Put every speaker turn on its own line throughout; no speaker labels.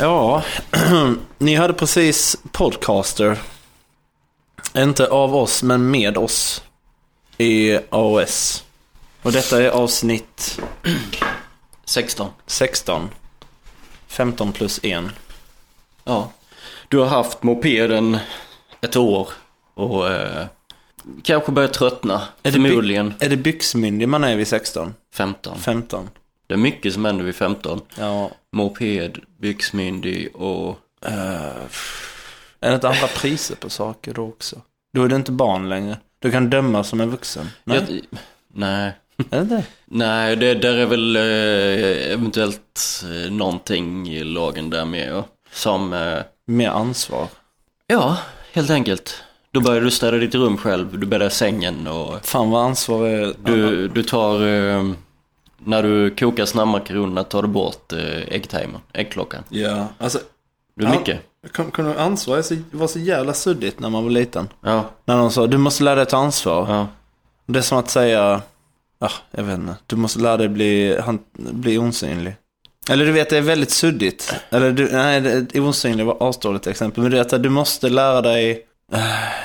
Ja, ni hade precis Podcaster. Inte av oss, men med oss. I AOS. Och detta är avsnitt
16.
16. 15 plus 1.
Ja. Du har haft mopeden ett år och eh, kanske börjat tröttna.
Är det by-
Förmodligen
Är det byxmyndig man är vid 16?
15.
15?
Det är mycket som händer vid 15.
Ja.
Moped, byxmyndig och...
eh, pff. är det inte andra priser på saker då också? Då är du inte barn längre. Du kan dömas som en vuxen. Nej,
Jag, nej.
är det det?
Nej, det där är väl eh, eventuellt eh, någonting i lagen där med. ja. Som, eh,
Mer ansvar.
ja, helt enkelt. Då börjar du städa ditt rum själv, du bäddar sängen och
Fan vad ansvar är...
Du, du tar, eh, när du kokar snabbmakaronerna tar du bort eh, äggtimern, äggklockan.
Ja, alltså
Du är
Ja.
mycket.
Kom- Kommer du ihåg ansvar? Det är så- var så jävla suddigt när man var liten.
Ja,
När någon sa du måste lära dig ta ansvar.
ja.
Det är som att säga, ah, jag vet inte, du måste lära dig bli, han, bli osynlig. Eller du vet, det är väldigt suddigt. Eller du, nej, det, osynlig var asdåligt exempel. Men du vet att du måste lära dig, eh,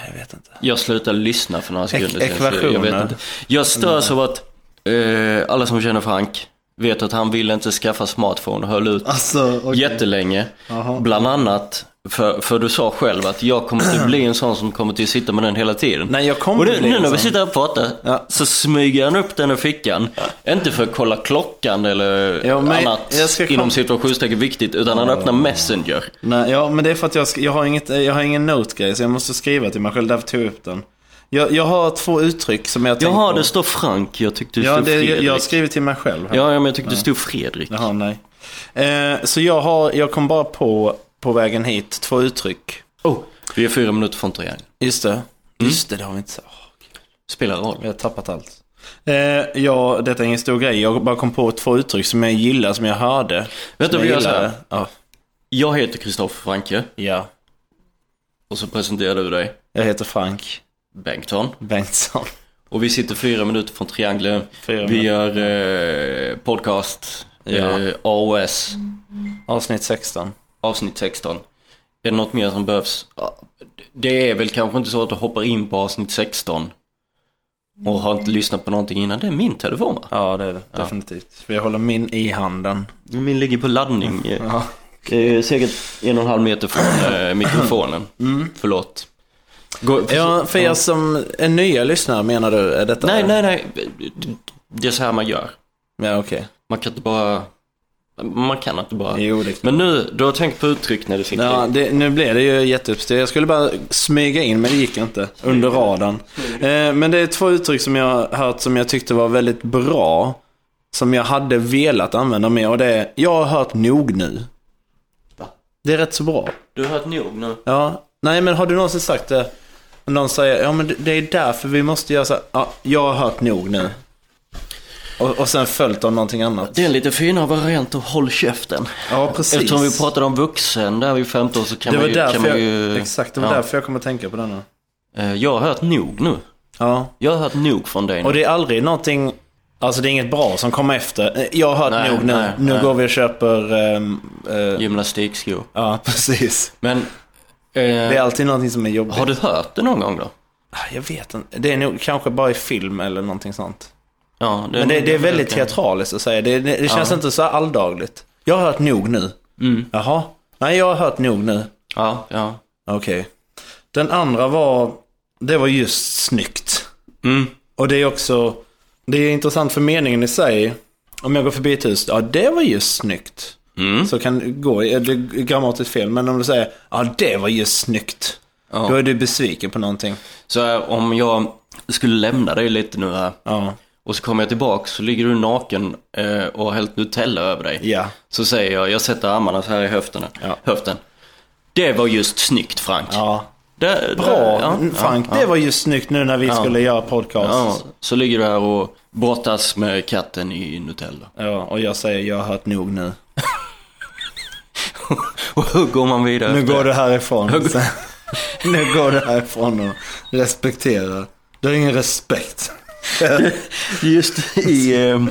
jag vet inte.
Jag slutade lyssna för några sekunder sedan. så
ekvationer.
Jag, vet inte. jag störs av att eh, alla som känner Frank vet att han ville inte skaffa smartphone och höll ut
Alltså, okay.
jättelänge. Bland annat, för, för du sa själv att jag kommer inte bli en sån som kommer till sitta med den hela tiden.
Nej, jag kommer
Och nu,
inte bli
nu
en
när vi
sån.
sitter här och pratar
Ja.
så smyger han upp den ur fickan. Inte för att kolla klockan eller
Ja, men
annat
jag ska kom-
inom situationstecken viktigt utan han öppnar Messenger.
Nej, ja, men det är för att jag, sk- jag, har, inget, jag har ingen note-grej så jag måste skriva till mig själv. Därför tog jag upp den. Jag, jag har två uttryck som jag tänkt
Jaha,
på.
det står Frank. Jag tyckte det
ja,
stod
det, jag,
Fredrik.
jag har skrivit till mig själv. här.
Ja, ja, men jag tyckte det stod Fredrik.
Jaha, nej. Eh, så jag, har, jag kom bara på, på vägen hit, två uttryck.
Oh, vi är fyra minuter från triangel.
Just det.
Mm.
Just det, det har vi inte sagt.
Spelar roll.
Jag har tappat allt. Eh, ja, detta är ingen stor grej. Jag bara kom på två uttryck som jag gillar, som jag hörde.
Vänta,
som
vi gör så
gillade.
här.
Ja.
Jag heter Kristoffer Franke
ja.
och så presenterar du dig,
Jag heter Frank
Bengtsson.
Bengtsson.
Och vi sitter fyra minuter från triangeln.
Fyra
Vi
minuter.
gör eh, podcast,
Ja.
eh, AOS,
Avsnitt 16.
avsnitt 16. Är det något mer som behövs? Ja, Det är väl kanske inte så att du hoppar in på avsnitt 16 och har inte lyssnat på någonting innan. Det är min telefon va?
Ja, det är det. Definitivt. För jag håller min i handen.
Min ligger på laddning. eh,
Ja.
eh, Säkert en och en halv meter från eh, mikrofonen. Mm. Förlåt. Gå,
Ja, för er som är nya lyssnare menar du? Är detta...
Nej, nej, nej. Det är så här man gör.
Ja, okej.
Man kan inte bara... Man kan inte bara...
Jo, det
Men nu, du har tänkt på uttryck när du sitter
Ja, det, nu blev det ju jätteuppstyr. Jag skulle bara smyga in, men det gick inte. Under radarn. Eh, men det är två uttryck som jag har hört som jag tyckte var väldigt bra. Som jag hade velat använda mer. Och det är, jag har hört nog nu. Det är rätt så bra.
Du har hört nog nu.
Ja. Nej, men har du någonsin sagt det? Någon säger, ja men det- det är därför vi måste göra så här. Ja, jag har hört nog nu. Och, och sen följt av någonting annat.
Det är en lite finare variant av håll käften.
Ja, precis.
Eftersom vi pratade om vuxen där vid 15 så kan
det var
man ju... Kan
därför
man
jag,
ju
exakt, det var
ja.
därför jag kom att tänka på denna.
Eh, Jag har hört nog nu.
Ja.
Jag har hört nog från dig nu.
Och det är aldrig någonting, alltså det är inget bra som kommer efter. Eh, Jag har hört
Nej,
nog nu,
nej,
nu
nej.
går vi och köper, ehm, eh,
Gymnastikskor.
ja precis.
Men...
Det är
Eh,
alltid någonting som är jobbigt.
har du hört det någon gång då?
Ah, Jag vet inte, det är nog kanske bara i film eller någonting sånt.
Ja,
Men det, det är väldigt teatraliskt att säga, det, det, det känns inte så här alldagligt. Jag har hört nog nu. Mm. Jaha, nej jag har hört nog nu.
Ja, ja.
Okej. Den andra var, det var just snyggt.
Mm.
Och det är också, det är intressant för meningen i sig. Om jag går förbi ett hus, ja det var ju snyggt.
Mm.
Så kan det gå, det är grammatiskt fel, men om du säger, ja det var ju snyggt.
Ja.
Då är du besviken på någonting.
Så här, om jag skulle lämna dig lite nu här.
Ja.
Och så kommer jag tillbaka så ligger du naken eh, och har hällt Nutella över dig.
Ja.
Så säger jag, jag sätter armarna så här i höfterna,
Ja.
höften. Det var just snyggt Frank.
ja.
Det,
Bra,
det, ja,
Frank.
ja,
det var ju snyggt nu när vi skulle göra podcast.
ja.
Ja.
Så ligger du här och brottas med katten i Nutella.
och jag säger, jag har hört nog nu.
Och hur går man vidare?
Nu
efter
går
det?
du härifrån. Sen- nu går du härifrån och respekterar. Du har ingen respekt.
Just i, eh,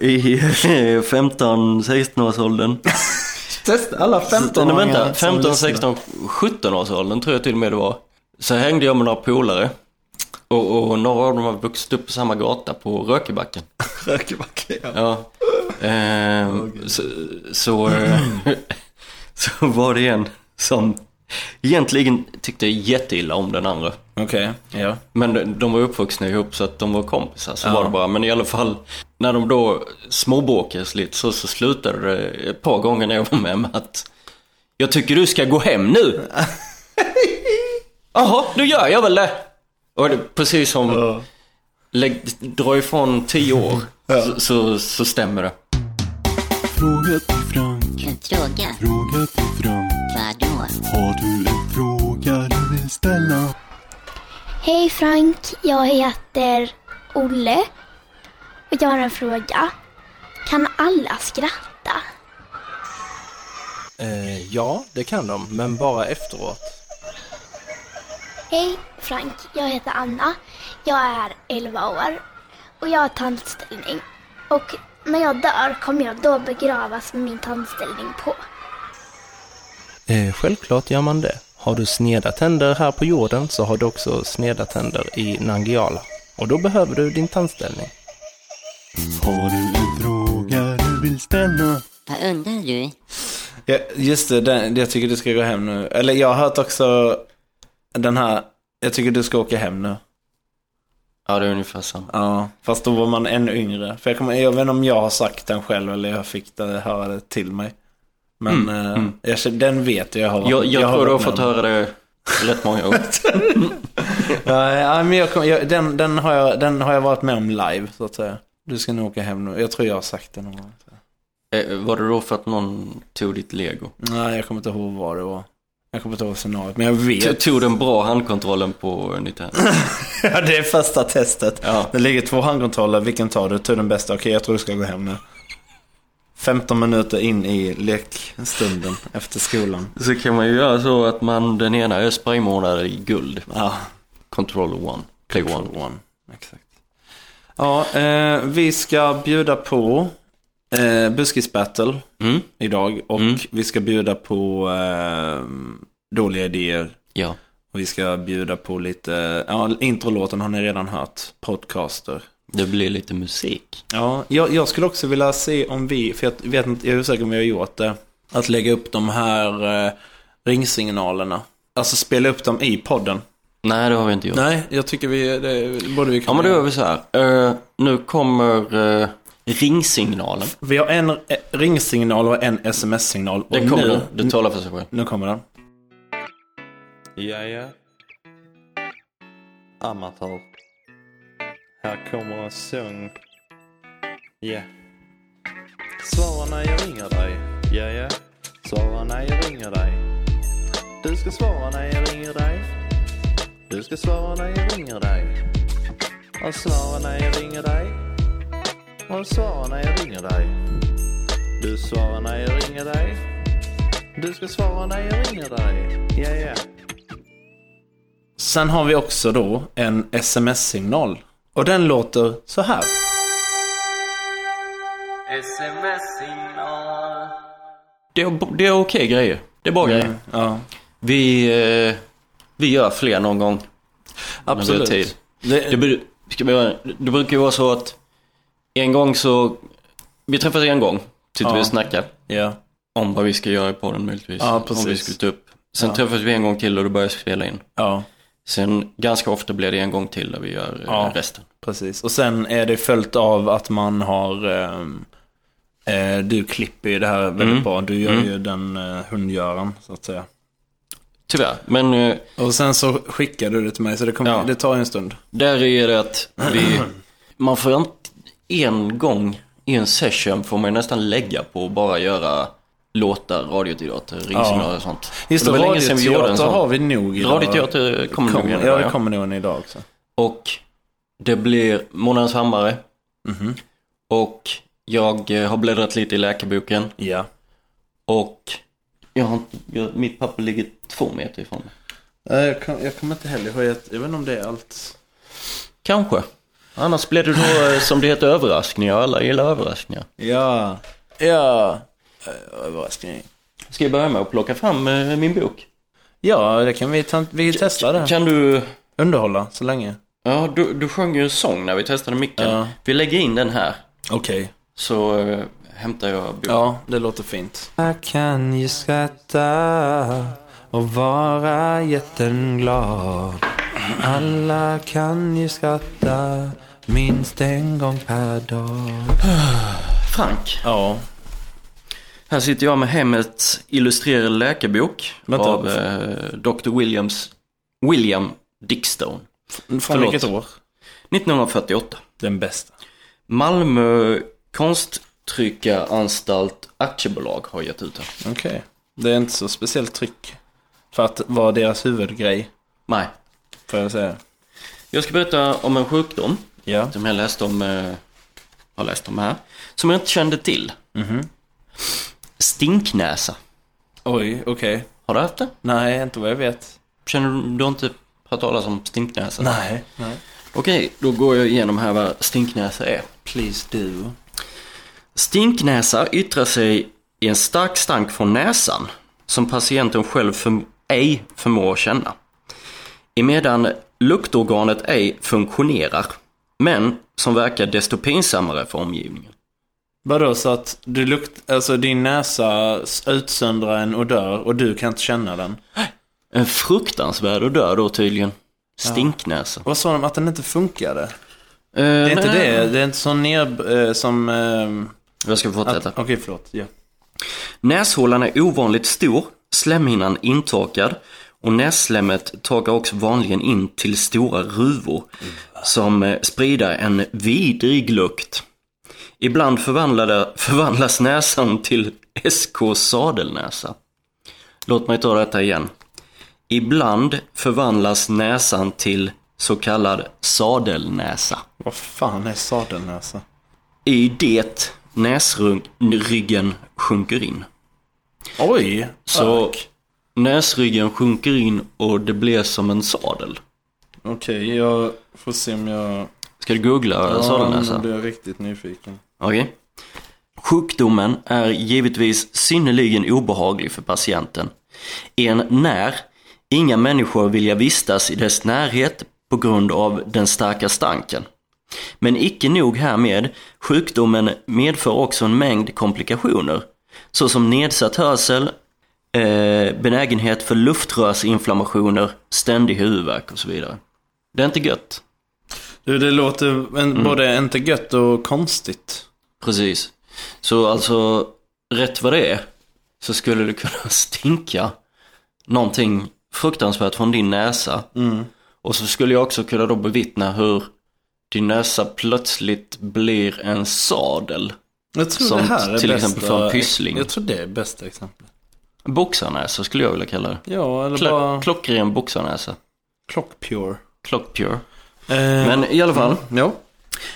i eh, 15-16 årsåldern
Testa alla 15
Nej, vänta, 15, 16, 17 års åldern tror jag till och med det var. Så hängde jag med några polare. Och, och några av dem har vuxit upp på samma gata på Rökebacken.
Rökebacken, ja.
Ja. Ehm, så, så, eh, så var det en som egentligen tyckte jätteilla om den andra.
Okej, ja.
Men de- de var uppvuxna ihop så att de var kompisar. Så
Ja.
var det bara. Men i alla fall, när de då småbråkades lite så, så slutade det ett par gånger när jag var med, med att jag tycker du ska gå hem nu. Jaha, då gör jag väl det. Och det, precis som, lägg, dra ifrån tio år så, så, så stämmer det.
Fråga till Frank,
En fråga?
fråga till Frank.
Vadå?
Har du en fråga du vill ställa?
Hej Frank, jag heter Olle och jag har en fråga. Kan alla skratta?
Eh, ja, det kan de, men bara efteråt.
Hej Frank, jag heter Anna. Jag är 11 år och jag har tandställning. Och när jag dör kommer jag då begravas med min tandställning på.
Eh, självklart gör man det. Har du sneda tänder här på jorden så har du också sneda tänder i Nangiala. Och då behöver du din tandställning.
Har du en fråga du vill ställa?
Vad undrar du?
Ja, just det, den, jag tycker du ska gå hem nu. Eller jag har hört också den här, jag tycker du ska åka hem nu.
Ja, det är ungefär samma.
Ja, fast då var man ännu yngre. För jag, kommer, jag vet inte om jag har sagt den själv eller jag fick det, höra det till mig. Men eh, Jag, känner- den vet jag jag har
Mm, Jag, jag,
har
tror du har
varit med
fått
om.
höra det rätt många gånger.
Ja, ja, men jag, kommer- jag, den, den, har jag, den har jag varit med om live, så att säga. Du ska nog åka hem nu. Jag tror jag har sagt det någon gång.
Eh, Var det då för att någon tog ditt lego?
Nej, jag kommer inte ihåg vad det var. Jag kommer inte ihåg scenariot, men jag vet.
Tog- Tog den bra handkontrollen på Nintendo?
Ja, det är första testet.
Ja.
Det ligger två handkontroller, vilken tar du? Ta den bästa. Okej, jag tror du ska gå hem nu. 15 minuter in i lekstunden efter skolan.
Så kan man ju göra så att man den ena är spraymålad i guld. Ah,
Ja,
Control one. Play one.
one. Exakt. Ja, eh, vi ska bjuda på eh, Buskis Battle
Mm.
idag. Och
Mm.
vi ska bjuda på eh, dåliga idéer.
Ja.
Och vi ska bjuda på lite, ja, introlåten har ni redan hört. Podcaster.
Det blir lite musik.
Ja, jag, jag skulle också vilja se om vi, för jag vet inte, jag är osäker om vi har gjort det, att lägga upp de här eh, ringsignalerna. Alltså spela upp dem i podden.
Nej, det har vi inte gjort.
Nej, jag tycker vi, det borde vi
Ja, men då gör vi så här. Eh, nu kommer eh, ringsignalen.
Vi har en eh, ringsignal och en sms-signal. Och
Den kommer
nu,
nu. Det talar för sig själv.
nu kommer den.
Ja, ja. Amatör. Här kommer en sång. Ja. Svara när jag ringer dig. Ja, ja. Svara när jag ringer dig. Du ska svara när jag ringer dig. Du ska svara när jag ringer dig. Och svara när jag ringer dig. Och svara när jag ringer dig. Du svarar när jag ringer dig. Du ska svara när jag ringer dig. Ja, ja.
Sen har vi också då en sms-signal. Och den låter så här.
Det är, det är okej grejer. Det är bra grejer.
Ja,
Vi, eh, vi gör fler någon gång.
absolut.
det är tid.
Det-
Det, bru- ska vi göra- det brukar ju vara så att en gång så... Vi träffas en gång, sitter
Ja.
vi och snackar
ja.
om vad vi ska göra i podden möjligtvis.
Ja,
Om vi
precis.
skulle ta upp. Sen träffas vi en gång till och då börjar vi spela in.
ja,
Sen ganska ofta blir det en gång till där vi gör eh,
Ja.
resten.
Precis, och sen är det följt av att man har... ehm, eh, du klipper ju det här väldigt
Mm.
bra. Du gör ju den eh, hundgöran, så att säga.
Tyvärr, men eh,
Och sen så skickar du det till mig, så det, kommer,
Ja.
det tar ju en stund.
där är det att vi... Man får inte... En gång i en session får man ju nästan lägga på att bara göra låtar, radioteater, ringsignaler och sånt.
Just
Och
det,
var länge sedan vi gjorde en
radioteater
sån.
har vi nog idag.
Radioteater kommer nog
kommer,
igen.
Ja, det kommer nog en idag också.
Och det blir Månadens hammare. Och jag eh, har bläddrat lite i läkarboken.
Ja.
Och jag har, inte- jag, mitt papper ligger två meter ifrån mig.
Eh, Jag, kan, jag kommer inte heller ihåg, jag vet inte om det är allt.
Kanske. Annars blir det då eh, som det heter överraskningar. Alla gillar överraskningar.
Ja. Ja. Eh, Överraskning.
Ska jag börja med att plocka fram eh, min bok?
Ja, det kan vi, ta- vi testar det.
Kan du...
Underhålla så länge.
Ja, du, du sjöng ju en sång när vi testade micken.
Ja.
Vi lägger in den här.
Okej.
Så eh, hämtar jag boken.
Ja, det låter fint. Jag kan ju skratta och vara jätteglad. Alla kan ju skratta minst en gång per dag.
Frank.
Ja,
Här sitter jag med hemmets illustrerade läkarbok
Vänta.
av eh, Dr. Williams, William Dickstone.
från
Förlåt.
vilket år?
1948.
Den bästa.
Malmö konsttryckaranstalt aktiebolag har gett ut den.
Okej. Det är inte så speciellt tryck för att vara deras huvudgrej,
Nej.
får jag säga.
Jag ska berätta om en sjukdom
Ja.
som jag läst om, eh, har läst om här. Som jag inte kände till.
Mhm.
Stinknäsa.
Oj, okej.
Har du haft det?
Nej, inte vad jag vet.
Känner du, du har inte hört talas om stinknäsa?
Nej. Nej.
Okej, då går jag igenom här vad stinknäsa är.
Please do.
Stinknäsa yttrar sig i en stark stank från näsan som patienten själv för, ej förmår känna. Emedan luktorganet ej funktionerar, men som verkar desto pinsammare för omgivningen.
Vadå, så att du lukt, alltså din näsa s- utsöndrar en odör och du kan inte känna den?
En fruktansvärd odör då tydligen. Stinknäsa.
Vad sa de, att den inte funkade?
Det
Det är inte
eh,
det, det är inte så ner... eh, som... ehm,
Jag ska
att-
fortsätta.
Okej, förlåt. Ja.
Näshålan är ovanligt stor, slemhinnan intorkad och nässlemmet torkar också vanligen in till stora ruvor som eh, sprider en vidrig lukt. Ibland förvandlade, förvandlas näsan till SK sadelnäsa. Låt mig ta detta igen. Ibland förvandlas näsan till så kallad sadelnäsa.
Vad fan är alltså? sadelnäsa?
I det näsryggen sjunker in.
Oj!
Så
Okej,
näsryggen sjunker in och det blir som en sadel.
jag får se om jag...
Ska du googla
nu
sadelnäsa?
blir jag riktigt nyfiken.
Okej. Sjukdomen är givetvis synnerligen obehaglig för patienten. En när inga människor vilja vistas i dess närhet på grund av den starka stanken. Men icke nog härmed, sjukdomen medför också en mängd komplikationer. Såsom nedsatt hörsel, eh, benägenhet för luftrörsinflammationer, ständig huvudvärk och så vidare. Det är inte gött.
Du, det låter en,
Mm.
både inte gött och konstigt.
Precis. Så alltså, rätt vad det är så skulle det kunna stinka någonting fruktansvärt från din näsa.
Mm.
Och så skulle jag också kunna då bevittna hur din näsa plötsligt blir en sadel.
Jag tror
Som
det här är
till
bästa...
exempel för en pyssling.
Jag tror det är bästa exemplet.
Boxarnäsa skulle jag vilja kalla det.
Ja, eller
Klo-
bara...
Klockren boxarnäsa.
Clockpure.
Clockpure.
Eh,
Men i alla fall.
Ja.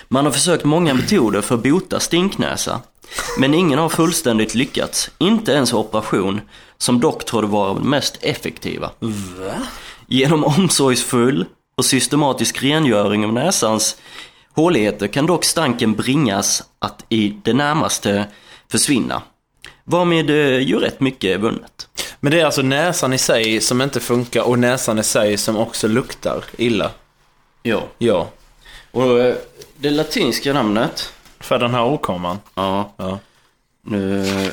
Man har försökt många metoder för att bota stinknäsa. Men ingen har fullständigt lyckats. Inte ens operation, som dock trodde vara den mest effektiva. Genom omsorgsfull och systematisk rengöring av näsans håligheter kan dock stanken bringas att i det närmaste försvinna. Varmed eh, ju rätt mycket är vunnet.
Men det är alltså näsan i sig som inte funkar och näsan i sig som också luktar illa.
Ja.
Ja.
Och eh, det latinska namnet
För den här åkomman.
Ja.
Ja.
Nu eh,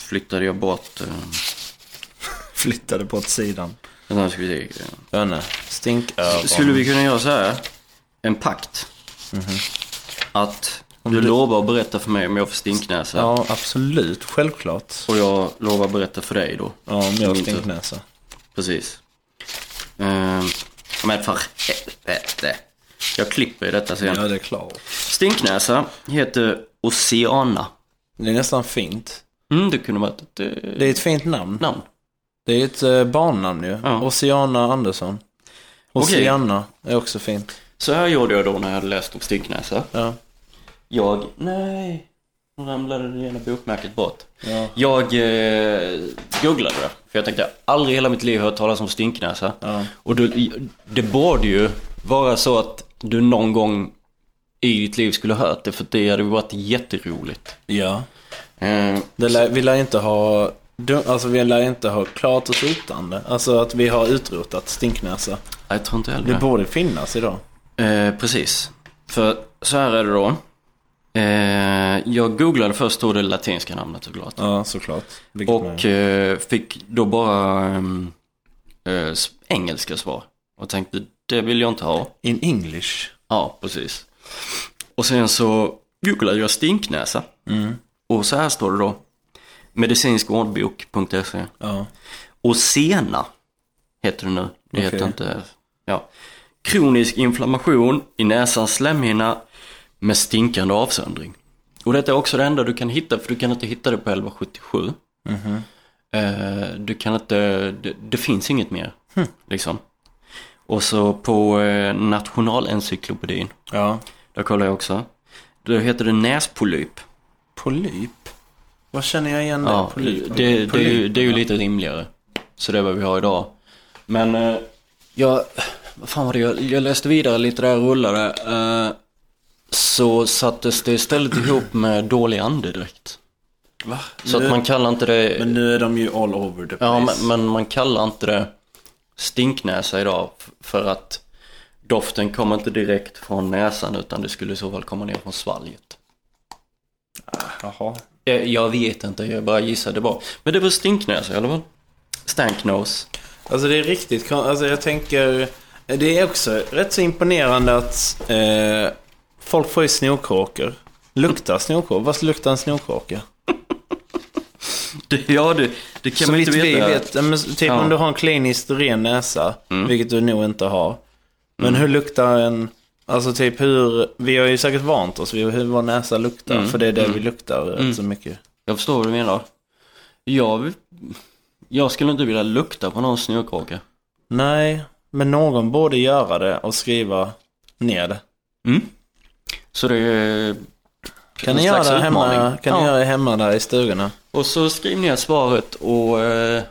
flyttade jag bort... eh,
Flyttade på åt sidan.
vänta, ska vi se.
Jag vet inte. Stinköron.
Skulle vi kunna göra så här? En pakt.
Mhm.
Att du lovar att berätta för mig om jag får stinknäsa.
Ja, absolut. Självklart.
Och jag lovar att berätta för dig då.
Ja, om jag har
Min tur.
stinknäsa.
Precis. Ehm, men för helvete. Jag klipper i detta sen.
det är klart.
Stinknäsa heter Oceana.
Det är nästan fint.
Mm, det kunde varit ett eh,
Det är ett fint namn.
namn.
Det är ett eh, barnnamn ju.
Ja.
Oceana Andersson. Oceana är också fint.
Så här gjorde jag då när jag hade läst om stinknäsa.
Ja.
Jag... Nej. Nu ramlade det ena bokmärket bort.
Ja.
Jag eh, googlade det. För jag tänkte, aldrig i hela mitt liv hört talas om stinknäsa.
Ja.
Och du, det borde ju vara så att du någon gång i ditt liv skulle ha hört det. För det hade ju varit jätteroligt.
ja.
Eh,
Det lär, vi lär inte ha Du, alltså vi lär inte ha klart oss utan det. Alltså att vi har utrotat stinknäsa.
Jag tror inte heller
Det
det.
borde finnas idag.
Eh, precis. För så här är det då. Eh, jag googlade först stod det latinska namnet såklart.
Ja, såklart. Vilket man-
Och eh, fick då bara ehm, eh, s- engelska svar. Och tänkte, det vill jag inte ha.
In English.
Ja, precis. Och sen så googlade jag stinknäsa. Och så här står det då. Medicinskordbok.se
Ja.
Och sena heter det nu. Det heter
Okej.
inte... Ja. Kronisk inflammation i näsans slemhinna med stinkande avsöndring. Och detta är också det enda du kan hitta, för du kan inte hitta det på 1177. Eh, du kan inte, det, det finns inget mer. Liksom. Och så på eh, Nationalencyklopedin,
Ja.
där kollar jag också. Då heter det näspolyp.
Polyp. Vad känner jag igen
Ja,
där?
det, det, det, är ju, det är ju lite rimligare. Så det är vad vi har idag. Men eh, jag, vad fan var det, jag, jag läste vidare lite där och rullade. Eh, så sattes det istället ihop med dålig andedräkt.
Va?
Så att man kallar inte det,
Men nu är de ju all over the
ja
place.
men, men man kallar inte det stinknäsa idag. f- För att doften kommer inte direkt från näsan utan det skulle i så fall komma ner från svalget.
Ah, Jaha.
Eh, Jag vet inte, jag bara gissade bara. Men det var stinknäsa i alla fall. Stanknose.
Alltså det är riktigt kon- Alltså jag tänker... Det är också rätt så imponerande att eh, folk får ju snorkråkor. Luktar snorkråkor? Vad luktar en snorkråka?
Det, ja, det, det kan
Så
man inte
vitt vi
veta.
vet. ja, Men, typ
Ja. Mm.
om du har en kliniskt ren näsa, vilket du nog inte har. Men hur luktar en... Alltså typ hur... Vi har ju säkert vant oss vid hur vår näsa luktar.
Mm.
För det är det vi luktar rätt så mycket.
Jag förstår vad du menar. Jag, jag skulle inte vilja lukta på någon snökråka.
Nej, men någon borde göra det och skriva ner det.
Så det är
Mm. Kan
en
ni göra
slags
det hemma,
utmaning.
kan ni
Ja.
göra det hemma där i stugorna?
Och så skriv ner svaret och eh,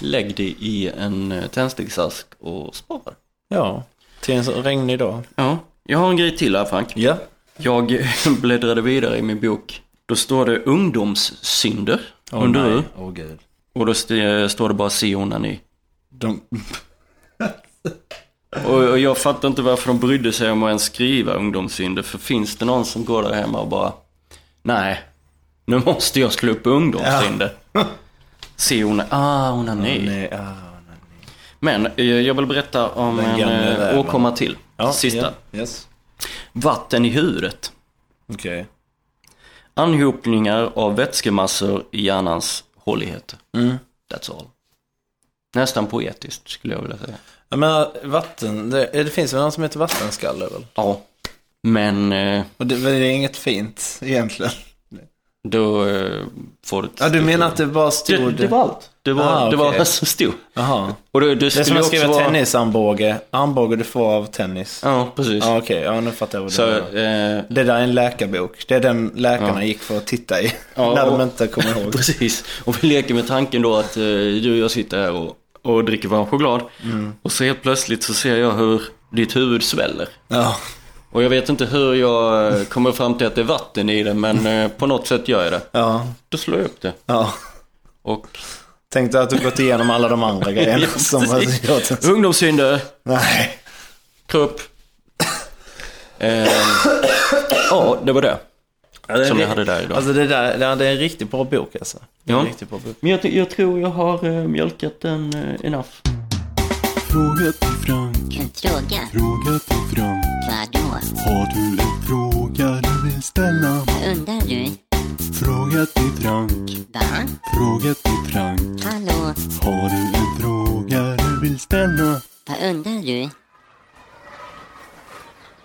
lägg det i en eh, tändsticksask och spara.
Ja, till en så regnig dag.
Ja, jag har en grej till här Frank.
Ja.
Jag bläddrade vidare i min bok. Då står det ungdomssynder under U.
Åh gud.
Och då st- eh, står det bara se onani.
De,
Och, och jag fattar inte varför de brydde sig om att ens skriva ungdomssynder. För finns det någon som går där hemma och bara Nej, nu måste jag slå upp ungdomssynder. Se hon, ah hon är ny.
nej, ah, nej.
Men eh, jag vill berätta om
Den
en
gamla
eh,
räven.
åkomma till. Sista.
Ja, yes.
Vatten i huvudet.
Okej.
Anhopningar av vätskemassor i hjärnans håligheter.
Mm.
That's all. Nästan poetiskt skulle jag vilja säga.
Ja, men äh, vatten, det, det finns väl någon som heter vattenskalle väl?
Ja. Men eh,
Och det, men det är inget fint egentligen.
då eh, får du ett
Ja, du menar att det bara stod...
Det, det var allt. Det var,
Ah,
det var
okej.
så stor.
Jaha.
Och det, det
Det är som
skulle
att
också
skriva
vara...
tennisarmbåge. Armbåge du får av tennis. Ja,
Ja, precis.
okej. Ja, nu fattar jag vad du
Så,
menar.
eh,
Det där är en läkarbok. Det är den läkarna gick för att titta i.
Ja,
när de
och-
inte kommer ihåg.
precis. Och vi leker med tanken då att eh, du och jag sitter här och, och dricker varm choklad.
Mm.
Och så helt plötsligt så ser jag hur ditt huvud sväller.
Ja.
Och jag vet inte hur jag eh, kommer fram till att det är vatten i det, men eh, på något sätt gör jag det.
Ja.
Då slår jag upp det.
ja.
Och...
Tänkte att du gått igenom alla de andra grejerna som har gjort en-
Ungdomssynder,
Nej.
kropp. Eh, ja, det var det. Som jag hade där idag.
Alltså det där, det det är en riktigt bra bok alltså. Det är
Ja.
en riktigt bra bok.
Men jag, ty- jag tror jag har eh, mjölkat den eh, enough.
Fråga till Frank,
En fråga?
fråga till Frank.
Vadå?
Har du en fråga du vill ställa?
Undrar du?
Fråga till Frank,
Va?
fråga till Frank.
Hallå?
Har du en fråga du vill ställa?
Vad undrar du?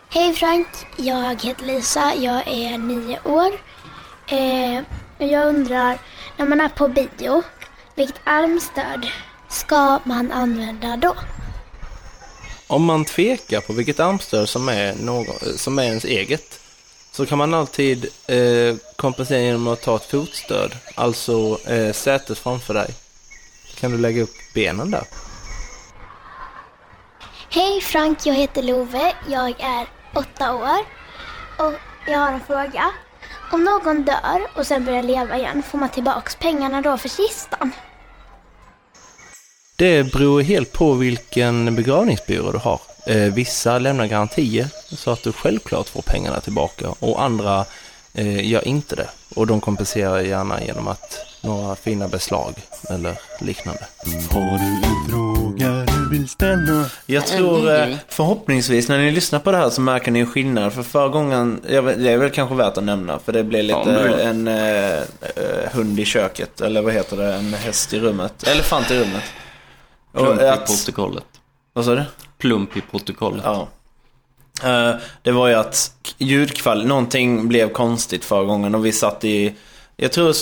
Hej Frank, jag heter Lisa, jag är nio år. Eh, och jag undrar, när man är på bio, vilket armstöd ska man använda då?
Om man tvekar på vilket armstöd som är, någon, eh, som är ens eget så kan man alltid eh, kompensera genom att ta ett fotstöd, alltså eh, sätet framför dig. Kan du lägga upp benen där?
Hej Frank, jag heter Love, jag är åtta år och jag har en fråga. Om någon dör och sen börjar leva igen, får man tillbaks pengarna då för kistan?
Det beror helt på vilken begravningsbyrå du har. Eh, vissa lämnar garantier så att du självklart får pengarna tillbaka och andra eh, gör inte det. Och de kompenserar gärna genom att några fina beslag eller liknande.
Har du en fråga du vill ställa?
Jag tror eh, förhoppningsvis när ni lyssnar på det här så märker ni en skillnad. För förra gången, jag vet, det är väl kanske värt att nämna. För det blev lite
om du vill.
en eh, eh, hund i köket. Eller vad heter det? En häst i rummet. Elefant i rummet.
Plump
Och
i
att,
protokollet.
vad sa du?
Plump i protokollet.
Ja. Eh, Det var ju att ljudkvall, någonting blev konstigt förra gången och vi satt i, jag tror, eh,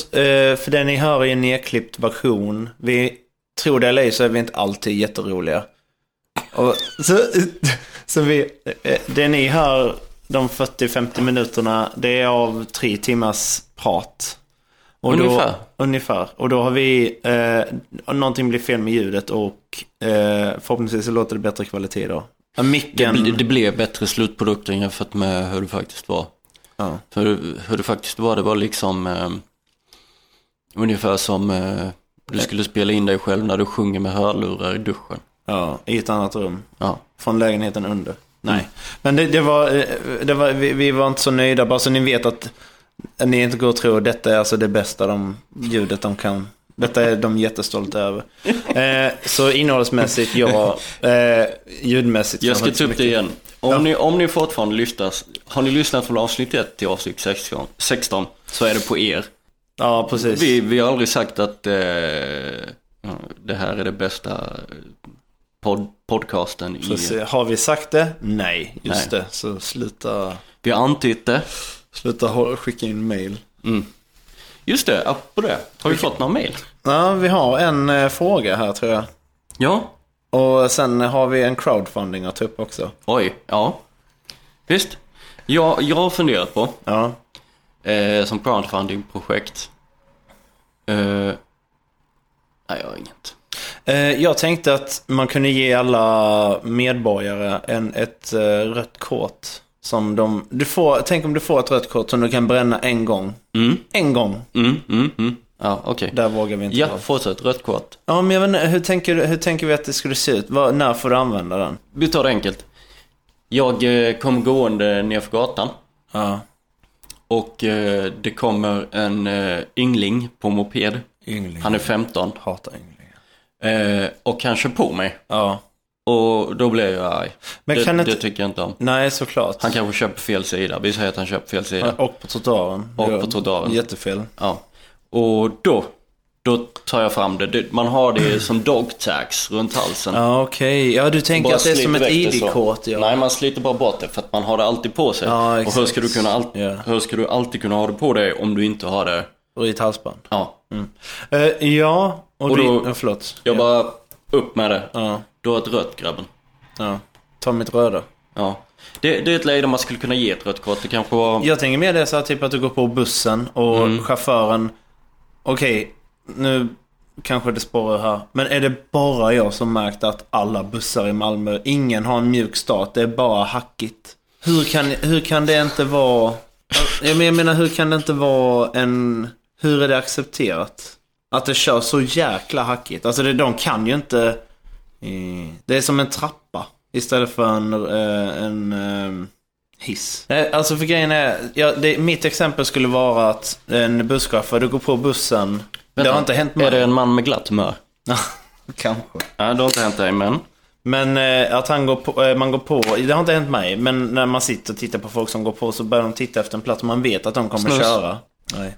för det ni hör är en nedklippt version. Vi, tror det eller ej så är vi inte alltid jätteroliga. Och, så, så vi, eh, det ni hör de 40-50 minuterna, det är av tre timmars prat. Och
Ungefär.
Då, ungefär. Och då har vi, eh, någonting blir fel med ljudet och eh, förhoppningsvis så låter det bättre kvalitet då. Ja,
Det,
Micken.
bl- det blev bättre slutprodukt jämfört med hur det faktiskt var.
Ja.
För hur det faktiskt var, det var liksom eh, ungefär som eh, du skulle spela in dig själv när du sjunger med hörlurar i duschen.
ja, i ett annat rum.
Ja.
Från lägenheten under.
Mm.
Nej. Men det, det var, eh, det var vi, vi var inte så nöjda. Bara så ni vet att ni inte går och tror att detta är alltså det bästa de, ljudet de kan. Detta är de jättestolta över. Eh, så innehållsmässigt, ja. Eh, ljudmässigt.
Jag ska
kanske
ta upp
inte
det
så mycket.
igen. Om, ni, om ni fortfarande lyssnar, har ni lyssnat från avsnitt 1 till avsnitt 16, 16 så är det på er.
Ja, precis.
Vi, vi har aldrig sagt att eh, ja, det här är det bästa pod, podcasten
Så
i...
se, har vi sagt det? Nej, just det. Så sluta,
Vi har antytt det.
sluta hå- skicka in mail.
Just det, apropå det. Har vi fått några mail?
Ja, vi har en eh, fråga här tror jag.
Ja.
Och sen har vi en crowdfunding att ta upp också.
Oj, ja. Visst. Jag, jag har funderat på,
Ja.
eh, som crowdfunding-projekt. Eh, nej, jag har inget.
Eh, Jag tänkte att man kunde ge alla medborgare en, ett eh, rött kort. Som de, du får, tänk om du får ett rött kort som du kan bränna en gång. En gång.
Mm, mm, mm. Ja, okej.
Där vågar vi inte
Ja,
vara.
fortsätt. Rött kort.
ja, men jag vet inte, hur tänker, du- hur tänker vi att det skulle se ut? Var, när får du använda den?
Vi tar det enkelt. Jag eh, kom gående nerför gatan
Ja,
och eh, det kommer en eh, yngling på moped.
yngling.
Han är 15
Hatar ynglingar.
eh, och han kör på mig.
Ja.
Och då blir jag arg.
Men
det,
kan inte-
det tycker jag inte om.
Nej, såklart.
Han kanske köper fel sida. Vi säger att han köper fel sida.
Och på trottoaren.
Och
Ja,
på trottoaren.
Jättefel.
Ja. Och då, då tar jag fram det. det. Man har det som dog tags runt halsen.
Ja, okej. Ja, du tänker
Bara
att det är som
sliter
ett
väck det så.
ID-kort. Ja.
Nej, man sliter bara bort det för att man har det alltid på sig.
Ja,
och hur
exakt.
ska, du kunna all-
Ja.
hur ska du alltid kunna ha det på dig om du inte har det?
Och i ett halsband.
Ja.
Eh, ja, och,
Och
då...
då-
Du, ja, förlåt.
Jag bara, upp med det.
Ja,
Du har ett rött grabben.
ja. Ta mitt röda.
Ja. Det, det är ett läge där man skulle kunna ge ett rött kort. Det kanske var...
Jag tänker mer det så här, typ att du går på bussen och
Mm.
chauffören, okej, nu kanske det spårar här. Men är det bara jag som märkt att alla bussar i Malmö, ingen har en mjuk start, det är bara hackigt. Hur kan, hur kan det inte vara, jag men- jag menar hur kan det inte vara en, hur är det accepterat? Att det kör så jäkla hackigt. Alltså det, de kan ju inte, Mm. det är som en trappa istället för en, eh, en ehm, hiss. Nej, Alltså för grejen är, ja, det, mitt exempel skulle vara att en busschaufför, du går på bussen. det har inte hänt
Är
mig.
det en man med glatt humör?
Kanske.
Nej, det har inte hänt dig, men...
Men eh, att han går på, eh, man går på, det har inte hänt mig, men när man sitter och tittar på folk som går på så börjar de titta efter en plats man vet att de kommer
Snus.
köra. Nej.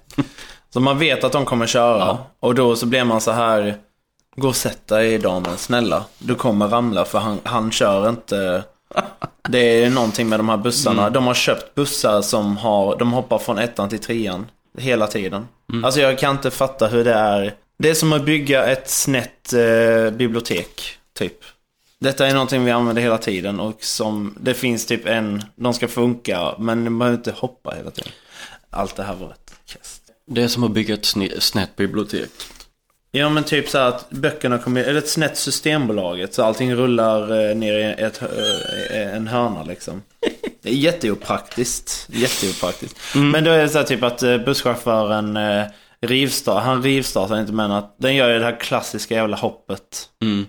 Så man vet att de kommer köra och då så blir man så här, gå och sätt dig damen, snälla. Du kommer ramla för han, han kör inte. Det är någonting med de här bussarna. De har köpt bussar som har, de hoppar från ettan till trean hela tiden. Alltså jag kan inte fatta hur det är. Det är som att bygga ett snett eh, bibliotek, typ. Detta är någonting vi använder hela tiden och som det finns typ en, de ska funka men man behöver inte hoppa hela tiden. Allt det här var ett kast.
Det är som att bygga ett sne- snett bibliotek.
Ja men typ så här att böckerna kommer, eller ett snett systembolaget så allting rullar eh, ner i ett, hö- eh, en hörna eh, liksom. Det är jätteopraktiskt. Jätteopraktiskt.
Mm.
Men då är det så här typ att eh, busschauffören eh, rivstar, han rivstartar inte men att den gör ju det här klassiska jävla hoppet.
Mm.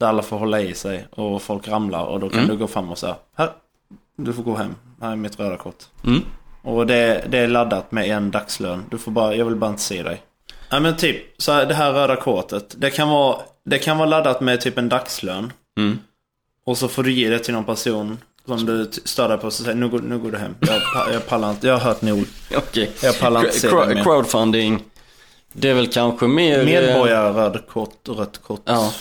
Där alla får hålla i sig och folk ramlar och då kan
Mm.
du gå fram och säga här, du får gå hem. Här är mitt röda kort.
Mm.
Och det, det är laddat med en dagslön. Du får bara, jag vill bara inte se dig. Ja men typ, så här, det här röda kortet. Det kan, vara, det kan vara laddat med typ en dagslön.
Mm.
Och så får du ge det till någon person som du t- stör dig på. Så säger nu, går- nu går du hem. Jag, pa- jag pallar inte, jag har hört nog.
Okej.
Jag pallar inte se
Cro-
det mer.
Crowdfunding. Det är väl kanske mer... eh,
Medborgare, röd kort och rött kort.
Ja.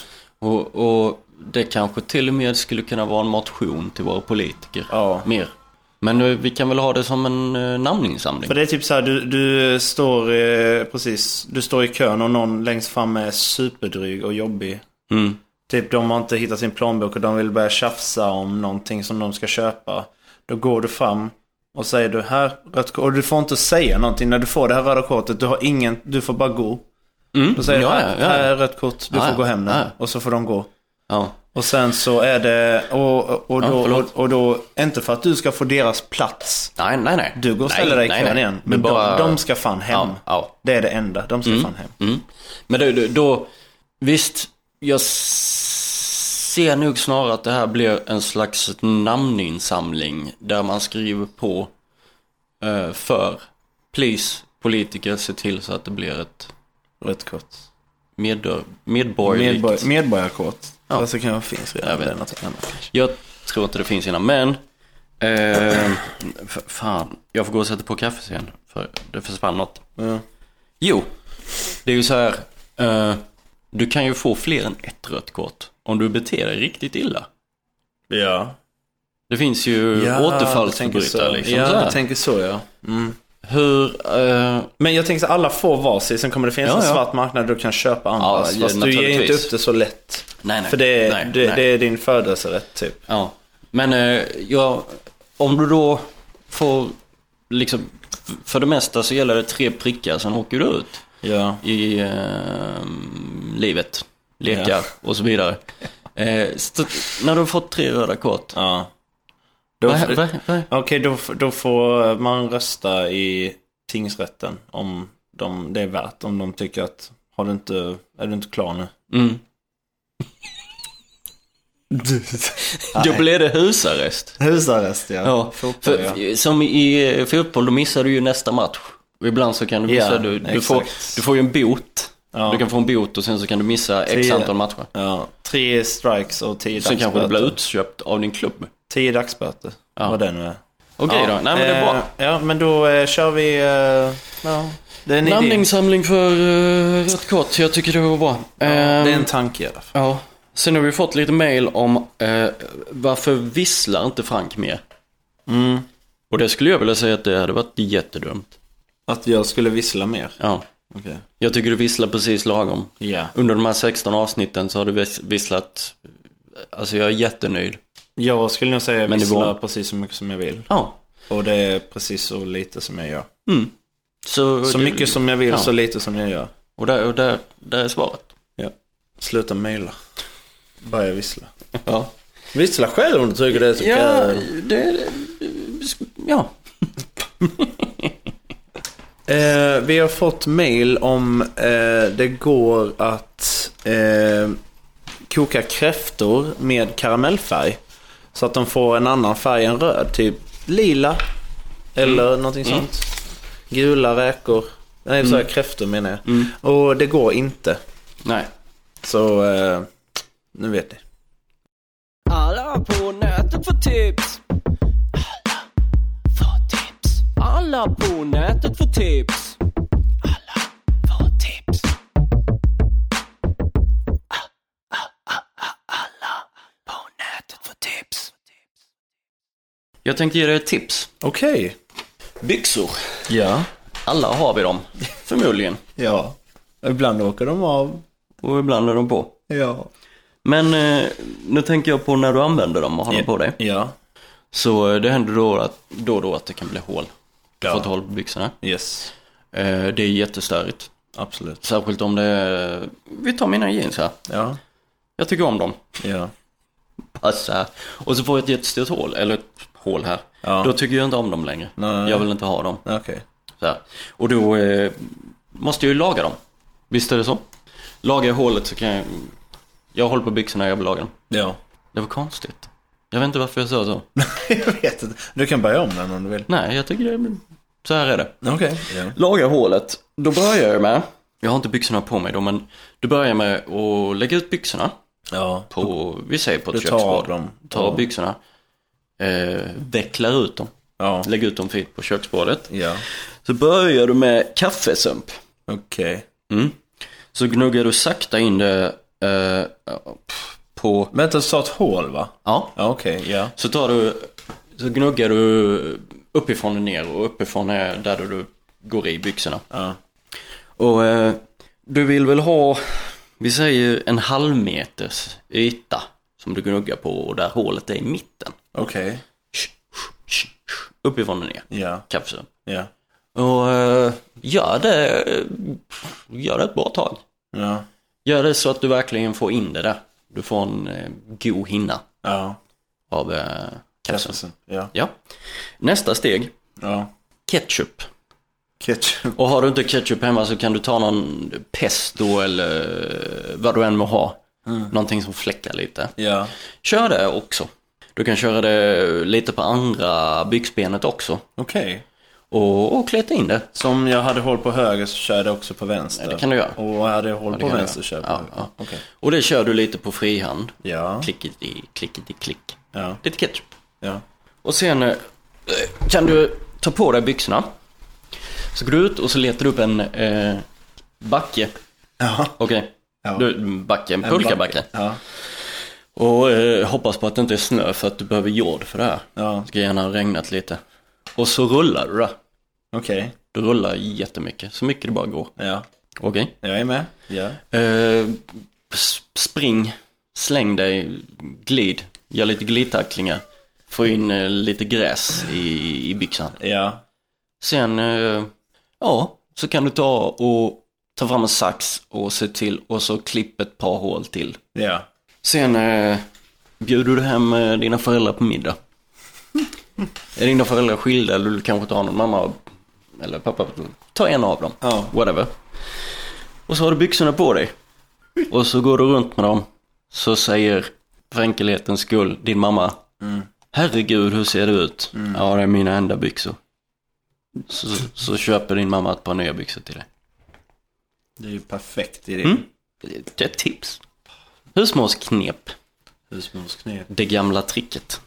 Och, och det kanske till och med skulle kunna vara en motion till våra politiker.
Ja.
Mer. Men eh, vi kan väl ha det som en eh, namninsamling.
För det är typ så här, du, du står eh, precis, du står i kön och någon längst fram är superdryg och jobbig.
Mm.
Typ de har inte hittat sin plånbok och de vill börja tjafsa om någonting som de ska köpa. Då går du fram och säger du här, rött kort. Och du får inte säga någonting när du får det här röda kortet. Du har ingen, du får bara gå.
Mm.
Då säger du
ja,
här,
ja,
här
ja.
är rött kort, du
Ja,
får
ja,
gå hem nu.
ja.
Och så får de gå.
ja.
Och sen så är det, och, och, och,
Ja,
då, och,
förlåt.
och då, inte för att du ska få deras plats.
Nej, nej, nej.
Du går och
Nej,
ställer dig i
nej,
kön
nej.
igen.
Det
Men
bara-
de, de ska fan hem.
Ja, ja.
Det är det enda, de ska fan hem.
Mm. Men du, du, då, visst, jag s- ser nog snarare att det här blir en slags namninsamling där man skriver på eh, för, please, politiker, se till så att det blir ett
Rött kort.
medbor- medborgerligt.
Medborg, medborgarkort.
Ja.
Alltså kan jag finns redan.
Jag vet
Det är något annat.
Jag tror inte det finns innan, men eh, f- fan, jag får gå och sätta på kaffet igen för det försvann något.
Ja.
Jo, det är ju så här. Eh, du kan ju få fler än ett rött kort om du beter dig riktigt illa.
Ja.
Det finns ju återfallsförbrytare liksom.
Ja,
så
jag
här.
tänker så ja.
Hur, eh,
Men jag tänker så alla får varsin, sen kommer det finnas
Ja,
en
ja.
svart marknad där du kan köpa andras.
Ja,
fast du ger inte
naturligtvis.
upp det så lätt.
nej nej.
För det är,
nej,
det,
nej.
det är din födelserätt typ.
Ja. Men eh, ja, om du då får liksom, f- för det mesta så gäller det tre prickar, sen åker du ut.
Ja.
i eh, livet, lekar och så vidare. Eh, så när du har fått tre röda kort,
ja. Då,
vad hä- vad- vad-
Okej, då, f- då får man rösta i tingsrätten om de, det är värt. Om de tycker att, har du inte, är du inte klar nu?
mm. Då blev det husarrest.
Husarrest
Ja,
Fotboll,
För, Som i eh, fotboll, då missar du ju nästa match. Och ibland så kan du missa,
Ja,
du, du, får,
exakt.
du får ju en bot.
Ja.
Du kan få en bot och sen så kan du missa x
Tio.
antal matcher.
Ja, tre strikes och tio
Sen kanske du blir
dagsböter.
utköpt av din klubb.
Tio dagsböter,
Ja.
vad det nu är.
Okej då, nej men det är bra.
Eh, Ja, men då eh, kör vi... Eh, ja, det är en idé.
Namninsamling för uh, rött kort, jag tycker det var bra.
Det är
Ehm,
en tanke i alla fall.
Ja, sen har vi fått lite mail om eh, varför visslar inte Frank mer?
Mm.
Och det skulle jag vilja säga att det hade varit jättedumt.
Att jag skulle vissla mer.
Ja,
Okej.
jag tycker du visslar precis lagom.
Ja.
Under de här 16 avsnitten så har du vis- visslat, alltså jag är jättenöjd.
Jag skulle nog säga
det
vissla
var-
precis så mycket som jag vill.
Ja,
Och det är precis så lite som jag gör.
mm. Så,
Så
det-
mycket som jag vill,
Ja.
så lite som jag gör.
Och där, och där, där är svaret.
Sluta mejla. Börja vissla.
Ja,
Vissla själv om du tycker det är så
ja
kul.
det, ja.
Eh, vi har fått mail om eh, det går att eh, koka kräftor med karamellfärg. Så att de får en annan färg än röd. Typ lila. Eller någonting sånt. Gula räkor. Nej, så här kräftor menar jag. Och det går inte.
Nej.
Så eh, nu vet ni.
Alla på nätet får tips. Alla får tips. Alla på nätet får tips. Alla får tips. Ah, ah, ah, ah, Alla på nätet får tips.
Jag tänkte ge dig ett tips.
Okej.
Byxor.
Ja.
Alla har vi dem, förmodligen.
Ja. Ibland åker de av.
Och ibland är de på.
Ja.
Men eh, nu tänker jag på när du använder dem och har dem på dig.
Ja.
Så eh, det händer då att, då och då att det kan bli hål. Du får ett hål på byxorna.
Yes.
Eh, det är jättestörigt.
Absolut.
Särskilt om det är... Vi tar mina jeans här.
Ja.
Jag tycker om dem.
Ja.
Passa. Och så får jag ett jättestort hål, eller ett hål här.
Ja.
Då tycker jag inte om dem längre.
Nej.
Jag vill inte ha dem.
Okej.
Så här. Och då eh, måste jag ju laga dem. Visst är det så? Lagar jag hålet så kan jag... Jag håller på byxorna och jag vill laga dem.
Ja.
Det var konstigt. Jag vet inte varför jag sa så.
jag vet inte. Du kan börja om den om du vill.
Nej, jag tycker det... Så här är det.
Okej. Ja.
Laga hålet. Då börjar jag med... Jag har inte byxorna på mig då, men du börjar med att lägga ut byxorna
ja.
på, vi säger på ett
Du tar
köksbord.
dem.
Tar
Ja.
byxorna, eh, vecklar ut dem,
Ja.
lägger ut dem fint på köksbordet.
Ja.
Så börjar du med kaffesump.
Okej.
Mm. Så gnuggar du sakta in det eh, på,
Vänta, du sa ett hål va?
ja,
Ja, okej. Ja.
så tar du, så gnuggar du uppifrån och ner och uppifrån är där du går i byxorna.
Ja.
Och eh, du vill väl ha, vi säger en halv meters yta som du gnuggar på och där hålet är i mitten.
Okej.
Uppifrån och ner.
Ja.
Kaffesump.
Ja.
Och eh, gör det, eh, gör det ett bra tag.
Ja.
Gör det så att du verkligen får in det där. Du får en eh, god hinna
Ja.
av eh, kaffesump.
Ja.
Ja. Nästa steg,
Ja.
ketchup.
Ketchup.
Och har du inte ketchup hemma så kan du ta någon pesto eller vad du än må ha.
Mm.
Någonting som fläckar lite.
Ja.
Kör det också. Du kan köra det lite på andra byxbenet också.
Okej.
Och, och kleta in det.
Som jag hade hål på höger så körde jag också på vänster.
Ja, det kan du göra.
Och hade jag hål
det
på
kan du
vänster
göra.
körde
Ja,
jag på höger.
ja.
Okej.
Och det kör du lite på frihand.
Ja.
Klickety, klickety, klick.
Ja.
Lite ketchup.
Ja.
Och sen eh, kan du ta på dig byxorna. Så går du ut och så letar du upp en eh, backe.
Ja.
Okej.
Ja.
Du, en backe, en pulkabacke.
Ja.
Och eh, hoppas på att det inte är snö för att du behöver jord för det här.
Ja.
Det ska gärna ha regnat lite. Och så rullar du det.
Okej.
Du rullar jättemycket, så mycket det bara går.
Ja.
Okej.
Jag är med. Ja.
Eh, s- spring, släng dig, glid, gör lite glidtacklingar. Få in eh, lite gräs i, i byxan.
Ja.
Sen, eh, ja, så kan du ta och ta fram en sax och se till och så klipp ett par hål till.
Ja.
Sen eh, bjuder du hem eh, dina föräldrar på middag. Är dina föräldrar skilda eller du kanske inte har någon mamma eller pappa. Ta en av dem.
Ja.
Whatever. Och så har du byxorna på dig. Och så går du runt med dem. Så säger, för enkelhetens skull, din mamma. Herregud, hur ser det ut? Ja, det är mina enda byxor. Så, så köper din mamma ett par nya byxor till dig.
Det är ju perfekt i det.
Mm. Det är ett tips. Husmorsknep.
Husmorsknep.
Det gamla tricket.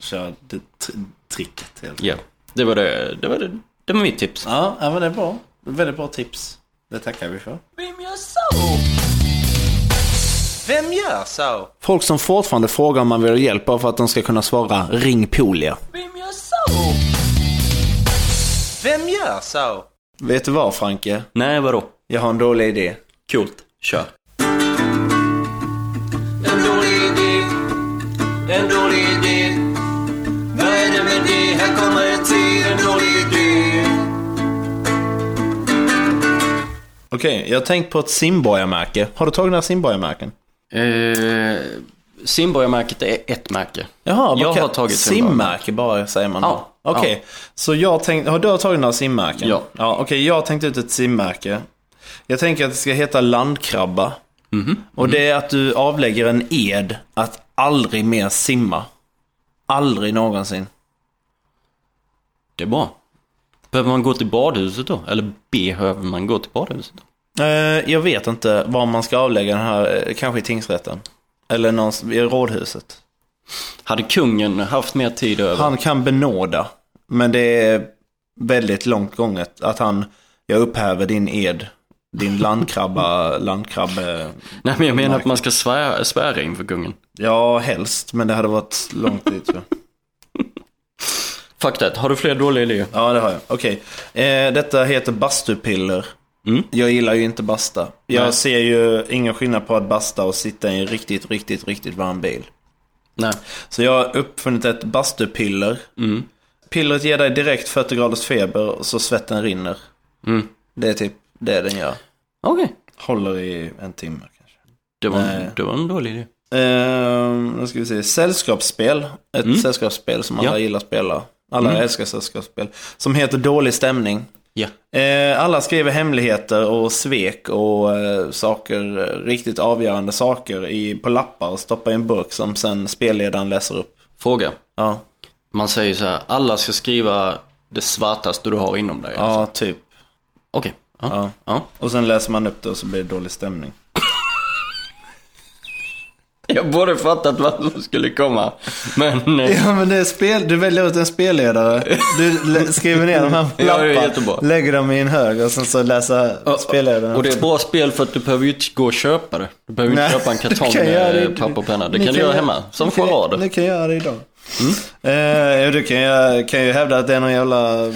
Kör det tr- tricket helt
Ja, det var det. Det var, det, det var mitt tips.
Ja, ja, men det är bra. Det är Väldigt bra tips. Det tackar vi för.
Vem gör så? Vem gör så?
Folk som fortfarande frågar om man vill ha hjälp av för att de ska kunna svara ring Polia.
Vem gör så? Vem gör så?
Vet du vad Franke?
Nej, vadå?
Jag har en dålig idé.
Coolt. Kör.
En dålig idé, en dålig idé. Vad är det med det? Här kommer en till, en dålig idé.
Okej, jag har tänkt på ett simborgarmärke. Har du tagit några simborgarmärken?
Eh, Simborgarmärket är ett märke.
Jaha, vad
Jag
kan-
har tagit simborgarmärke.
simmärke bara säger man.
Ja,
då. Okej, så jag tänkte, har du tagit några simmärken?
Ja.
ja Okej, jag har tänkt ut ett simmärke. Jag tänker att det ska heta landkrabba.
Mhm,
Och det är att du avlägger en ed att aldrig mer simma. Aldrig någonsin.
Det är bra. Behöver man gå till badhuset då? Eller behöver man gå till badhuset? Då?
Eh, jag vet inte var man ska avlägga den här, eh, kanske i tingsrätten. Eller någonstans i rådhuset.
Hade kungen haft mer tid över?
Han kan benåda, men det är väldigt långt gånget att han, jag upphäver din ed, din landkrabba, landkrabbe,
Nej, men jag menar att man ska svära, svära inför kungen.
ja helst, men det hade varit långt dit. tror jag.
Fuck that. Har du fler dåliga idéer?
Ja, det har jag. Okej, eh, detta heter bastupiller.
Mm.
Jag gillar ju inte basta. Jag
Nej.
ser ju ingen skillnad på att basta och sitta i en riktigt, riktigt, riktigt varm bil.
Nej.
Så jag har uppfunnit ett bastupiller. Pillret ger dig direkt 40 graders feber och så svetten rinner.
Mm.
Det är typ det den gör.
Okej.
Håller i en timme kanske.
Det, var
Nej.
en- det var en dålig idé.
Ehm, nu ska vi se. Sällskapsspel. Ett
Mm.
sällskapsspel som alla
Ja.
gillar att spela. Alla
Mm.
älskar sällskapsspel. Som heter Dålig stämning.
Ja.
Eh, alla skriver hemligheter och svek och eh, saker, eh, riktigt avgörande saker i, på lappar och stoppar i en burk som sen spelledaren läser upp.
Fråga.
Ja,
Man säger så här, alla ska skriva det svartaste du har inom dig.
ja typ.
Okej. Ja.
Ja.
Ja.
Och sen läser man upp det och så blir det dålig stämning.
Jag borde fattat vad som skulle komma. Men... eh,
Ja men det är spel, du väljer ut en spelledare. Du lä- skriver ner de här på
Ja, det är
lappar,
jättebra.
lägger dem i en hög och sen så läser spelledaren.
Och det är ett bra spel för att du behöver ju inte gå och köpa det. Du behöver ju inte
Nej,
köpa en
du
kartong
kan göra
med
det-
papper och penna. Det
ni
kan du göra
göra-
hemma. Som Mm.
ni kan-
charader.
Ni kan göra det idag. Eh, ja, du kan ju, kan ju hävda att det är någon jävla,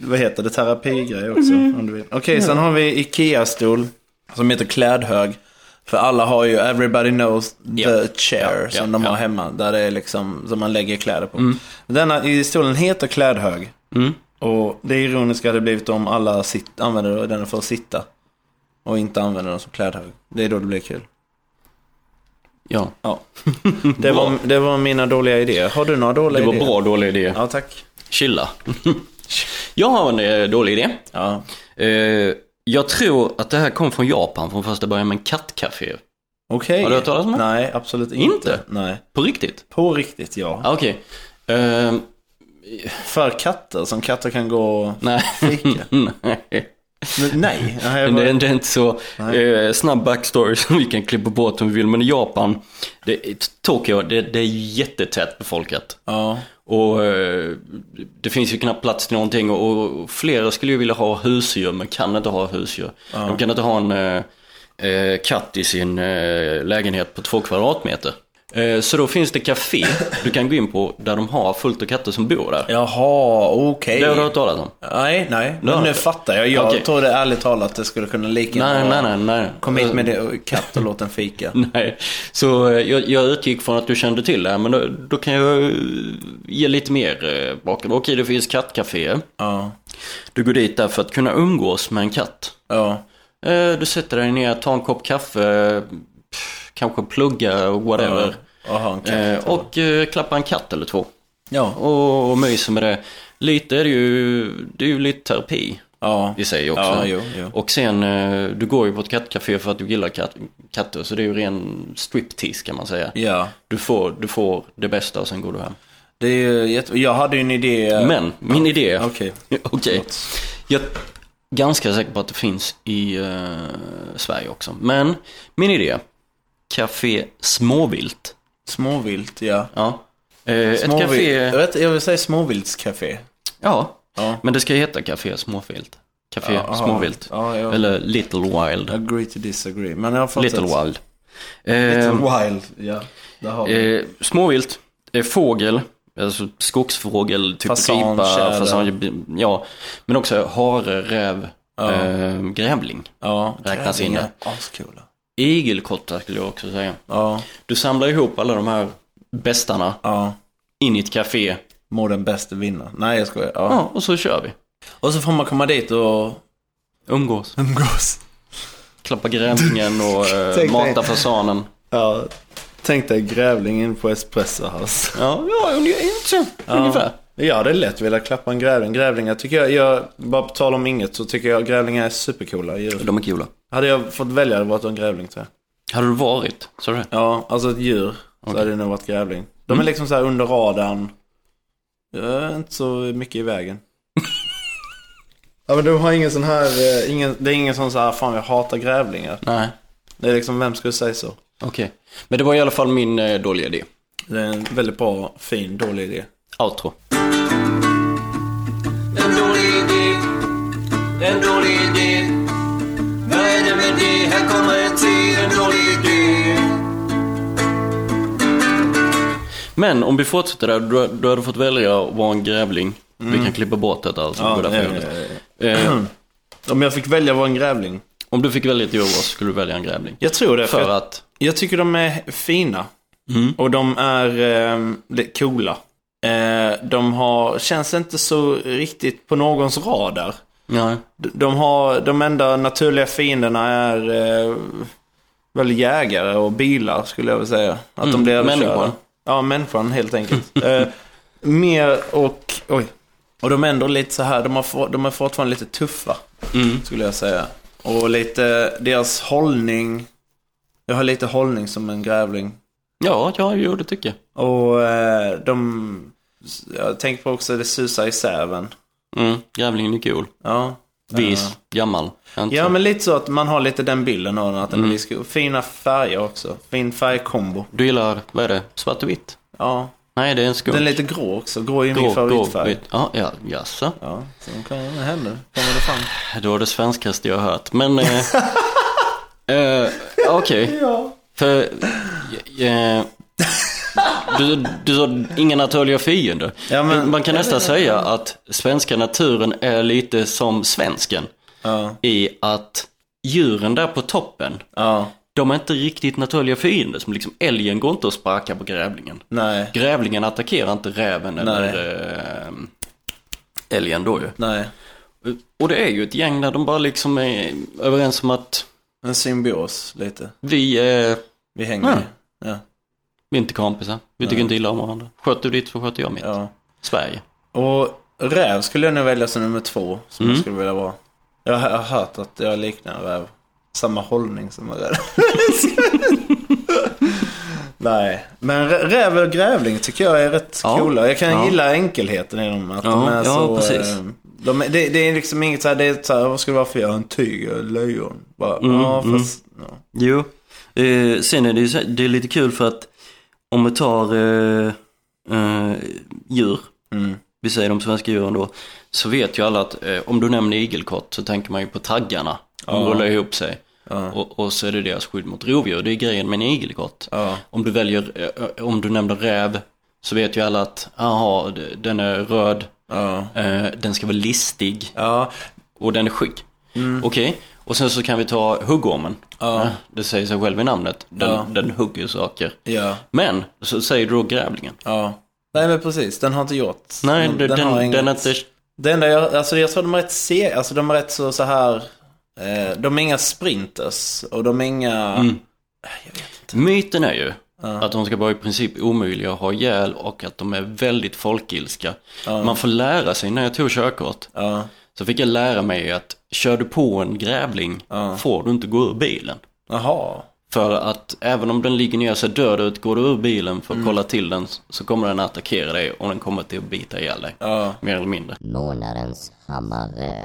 vad heter det, terapigrej också. Om du vill. Okej, sen har vi Ikea-stol som heter klädhög. För alla har ju Everybody knows the
Ja.
chair
Ja,
som
ja,
de har
ja. Mm.
hemma. Där det är liksom, som man lägger kläder på. Denna i stolen heter klädhög. Och det ironiska hade blivit om alla sit, använder den för att sitta. Och inte använder den som klädhög. Det är då det blir kul.
Ja.
Ja. Det var, det var mina dåliga idéer. Har du några dåliga
Det var
idéer?
bra dålig idé.
Ja, tack.
Chilla. Jag har en eh, dålig idé.
Ja.
Eh, Jag tror att det här kom från Japan från första början, men kattcafé.
Okej.
Har du hört talas om det?
Nej, absolut inte.
Inte?
Nej.
På riktigt?
På riktigt, ja.
Ah, Okej. Eh,
För katter, som katter kan gå och
Nej.
fika.
Nej.
Men nej. Ja, jag
Men det,
bara...
är- det är inte så eh, snabb backstory som vi kan klippa bort om vi vill. Men i Japan, det, Tokyo, det, det är jättetätt befolkat.
Ja.
Och eh, det finns ju knappt plats till någonting och, och flera skulle ju vilja ha husdjur men kan inte ha husdjur. De kan inte ha en eh, eh, katt i sin eh, lägenhet på två kvadratmeter. Eh, så då finns det café du kan gå in på där de har fullt av katter som bor där.
Jaha, okej.
Det har du hört talas om?
Nej, nej.
har
Men
du
nu
inte.
fattar jag. Jag
Okej.
trodde ärligt talat att det skulle kunna lika gärna
Nej,
vara-
nej, nej, Mm. nej.
Kom hit med det och katt och låt den fika.
Nej, så eh, jag, jag utgick från att du kände till det här, men då, då kan jag eh, ge lite mer eh, bakgrund. Okej, det finns kattcaféer.
Ja.
Du går dit där för att kunna umgås med en katt.
Ja.
Eh, Du sätter dig ner, tar en kopp kaffe, pff, kanske plugga och whatever.
Och ha en katt.
Eh, Och eh, klappa en katt eller två.
Ja.
Och, och myser med det. Lite är det ju, det är ju lite terapi
Ja.
i sig också.
Ja, jo, jo.
Och sen, eh, du går ju på ett kattcafé för att du gillar kat- katter. Så det är ju ren striptease kan man säga.
Ja.
Du får, du får det bästa och sen går du hem.
Det är ju jätte... Jag hade ju en idé.
Men, min idé.
Okej.
Okej. Jag är ganska säker på att det finns i eh, Sverige också. Men min idé. Café Småvilt.
Småvilt, ja.
Ja. Eh, ett
Småvilt.
café.
Jag, vet, jag vill säga småviltscafé.
Ja.
Ja.
Men det ska heta Café Småvilt. Café
Ja, aha.
Småvilt.
Ja, jag-
Eller Little Wild.
Agree to disagree. Men jag har fått
Little
ett...
Wild.
Little
Eh,
wild, ja. Där har vi.
eh, småvilt. Eh, fågel. Alltså skogsfågel, typ
Fasan,
ripa,
tjäder.
fasan, ja. Men också hare, räv, eh, grävling.
ja,
räknas
tävlingar.
in
Ascoola.
Igelkottar skulle jag också säga.
Ja,
Du samlar ihop alla de här bästarna
ja.
in i ett café.
Må den bäste vinna. Nej, jag skojar. Ja.
Ja, och så kör vi.
Och så får man komma dit och
Umgås.
umgås.
Klappa grävlingen och eh,
Tänk
mata
dig.
fasanen.
Ja, tänk dig grävling in på Espresso House.
Ja, ja ungefär. så, ungefär.
Jag hade lätt velat klappa en grävling. Grävlingar tycker jag, jag, bara på tal om inget, så tycker jag grävlingar är supercoola djur.
De är coola.
Hade jag fått välja hade det varit en grävling tror jag.
Hade du varit? Sa du det?
Ja, alltså ett djur. Så hade det nog varit grävling. De är liksom så här under radarn. Eh, inte så mycket i vägen. ja men de har ingen sån här, eh, ingen, det är ingen sån så här, fan jag hatar grävlingar.
Nej.
Det är liksom, vem skulle säga så?
Okej. Men det var i alla fall min eh, dåliga idé.
Det är en väldigt bra, fin, dålig idé.
Outro.
En dålig idé, en dålig idé. Vad är det med det? Här kommer en till, en dålig idé.
Men om vi fortsätter där, du, du hade fått välja att vara en grävling. Vi kan klippa bort detta alltså.
Ja,
går därför
ja,
jag vet.
ja, ja,
Eh,
Om jag fick välja var en grävling?
om du fick välja ett djur vad skulle du välja en grävling.
Jag tror det.
För
jag,
att?
jag tycker de är fina. Och de är ehm, lite coola. Eh, de har, känns inte så riktigt på någons radar.
Nej.
De har, de enda naturliga fienderna är eh, väl jägare och bilar skulle jag vilja säga. Att de
Mm,
blir överkörda.
människan.
Ja, människan helt enkelt. eh, mer och, oj. Och de är ändå lite så här, de, har, få- de är fortfarande lite tuffa
Mm.
skulle jag säga. Och lite, deras hållning, jag har lite hållning som en grävling.
Ja, ja, jo det tycker jag.
Och eh, de, jag tänker på också det susar i säven.
Mm, grävlingen är cool.
Ja.
Vis, gammal. Inte
Ja
så.
men lite så att man har lite den bilden av den, att den
Mm.
är viss, Fina färger också. Fin färgkombo.
Du gillar, vad är det, svart och vitt?
Ja.
Nej, det är en skog.
Den är lite grå också. Grå är ju min favoritfärg.
Ja, ja, jaså.
Ja, så de kan, vad händer? Kommer det fram?
Det var det svenskaste jag har hört. Men, eh, eh, okej. För, eh, du, du sa inga naturliga fiender.
Ja, men-
Man kan nästan säga att svenska naturen är lite som svensken.
Ja.
I att djuren där på toppen,
Ja.
de är inte riktigt naturliga fiender. Som liksom älgen går inte och sparkar på grävlingen.
Nej.
Grävlingen attackerar inte räven eller eh, älgen då ju.
Nej.
Och det är ju ett gäng där de bara liksom är överens om att
En symbios lite.
vi är,
Vi hänger.
Ja.
Ja.
vi är inte kompisar. Vi tycker inte illa om varandra. Sköter du ditt så sköter jag mitt.
ja.
Sverige.
Och räv skulle jag nog välja som nummer två. Som
Mm.
jag skulle vilja vara. Jag har jag har hört att jag liknar en räv. Samma hållning som en räv. Nej, men rä- räv och grävling tycker jag är rätt
Ja.
coola. Jag kan
Ja.
gilla enkelheten i dem. Att
Ja,
de är
ja,
så,
precis.
eh, De är, det, det är liksom inget så här, det är så här, vad ska det vara för jag? En tyger, ett lejon. Bara,
Mm,
ja,
mm.
fast, ja.
Jo, eh, sen är det ju så, det är lite kul för att om vi tar eh, eh, djur,
Mm.
vi säger de svenska djuren då, så vet ju alla att eh, om du nämner igelkott så tänker man ju på taggarna. De
Ja.
rullar ihop sig.
Ja.
Och, och så är det deras skydd mot rovdjur. Det är grejen med en igelkott.
Ja.
Om du väljer, eh, om du nämner räv så vet ju alla att, aha, d- den är röd,
Ja.
eh, den ska vara listig
Ja. Mm.
och den är skygg. Okej, och sen så kan vi ta huggormen.
Ja.
Det säger sig själv i namnet, den,
Ja.
den hugger ju saker.
Ja.
Men, så säger du då grävlingen.
Ja. Nej men precis, Alltså, den har inte gjort.
Nej, den, den,
har
den,
inget-
är inte,
Det enda jag, alltså jag tror de är rätt se, alltså de är rätt så, så här, eh, de är inga sprinters och de är inga,
Mm. myten är ju att de ska vara i princip omöjliga att ha ihjäl och att de är väldigt folkilska. Man får lära sig, när jag tog körkort,
ja,
Så fick jag lära mig att kör du på en grävling
Ja.
får du inte gå ur bilen.
jaha,
För att även om den ligger ner sig död ut, går du ur bilen för att
Mm.
kolla till den så kommer den att attackera dig och den kommer till att bita ihjäl dig.
ja,
Mer eller mindre.
Månadens hammare.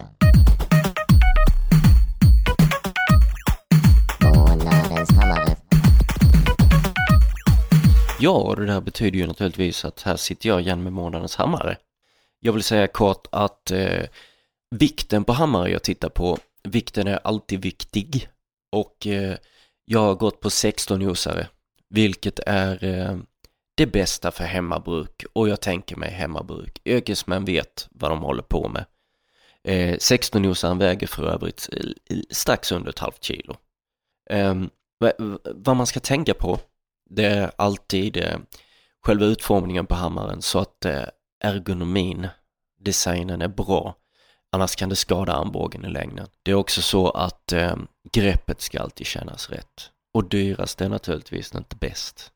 Månadens hammare.
Ja, och det där betyder ju naturligtvis att här sitter jag igen med månadens hammare. Jag vill säga kort att eh, vikten på hammare jag tittar på, vikten är alltid viktig. Och eh, jag har gått på 16 osare, vilket är eh, det bästa för hemmabruk. Och jag tänker mig hemmabruk. Yrkesmän vet vad de håller på med. Eh, 16 osaren väger för övrigt eh, strax under ett halvt kilo. Ehm, vad- vad man ska tänka på det är alltid eh, själva utformningen på hammaren så att eh, ergonomin, designen är bra. Annars kan det skada armbågen i längden. Det är också så att eh, greppet ska alltid kännas rätt. Och dyrast är naturligtvis inte bäst.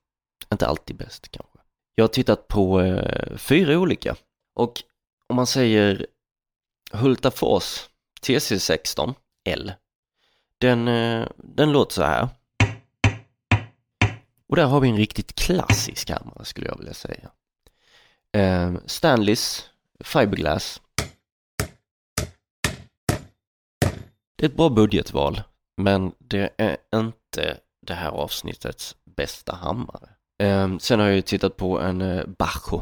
Inte alltid bäst kanske. Jag har tittat på eh, fyra olika. Och om man säger Hultafors TC16 L. Den, eh, den låter så här. Och där har vi en riktigt klassisk hammare skulle jag vilja säga. Eh, Stanleys Fiberglass. Det är ett bra budgetval, men det är inte det här avsnittets bästa hammare. Eh, sen har jag ju tittat på en eh, Bacho,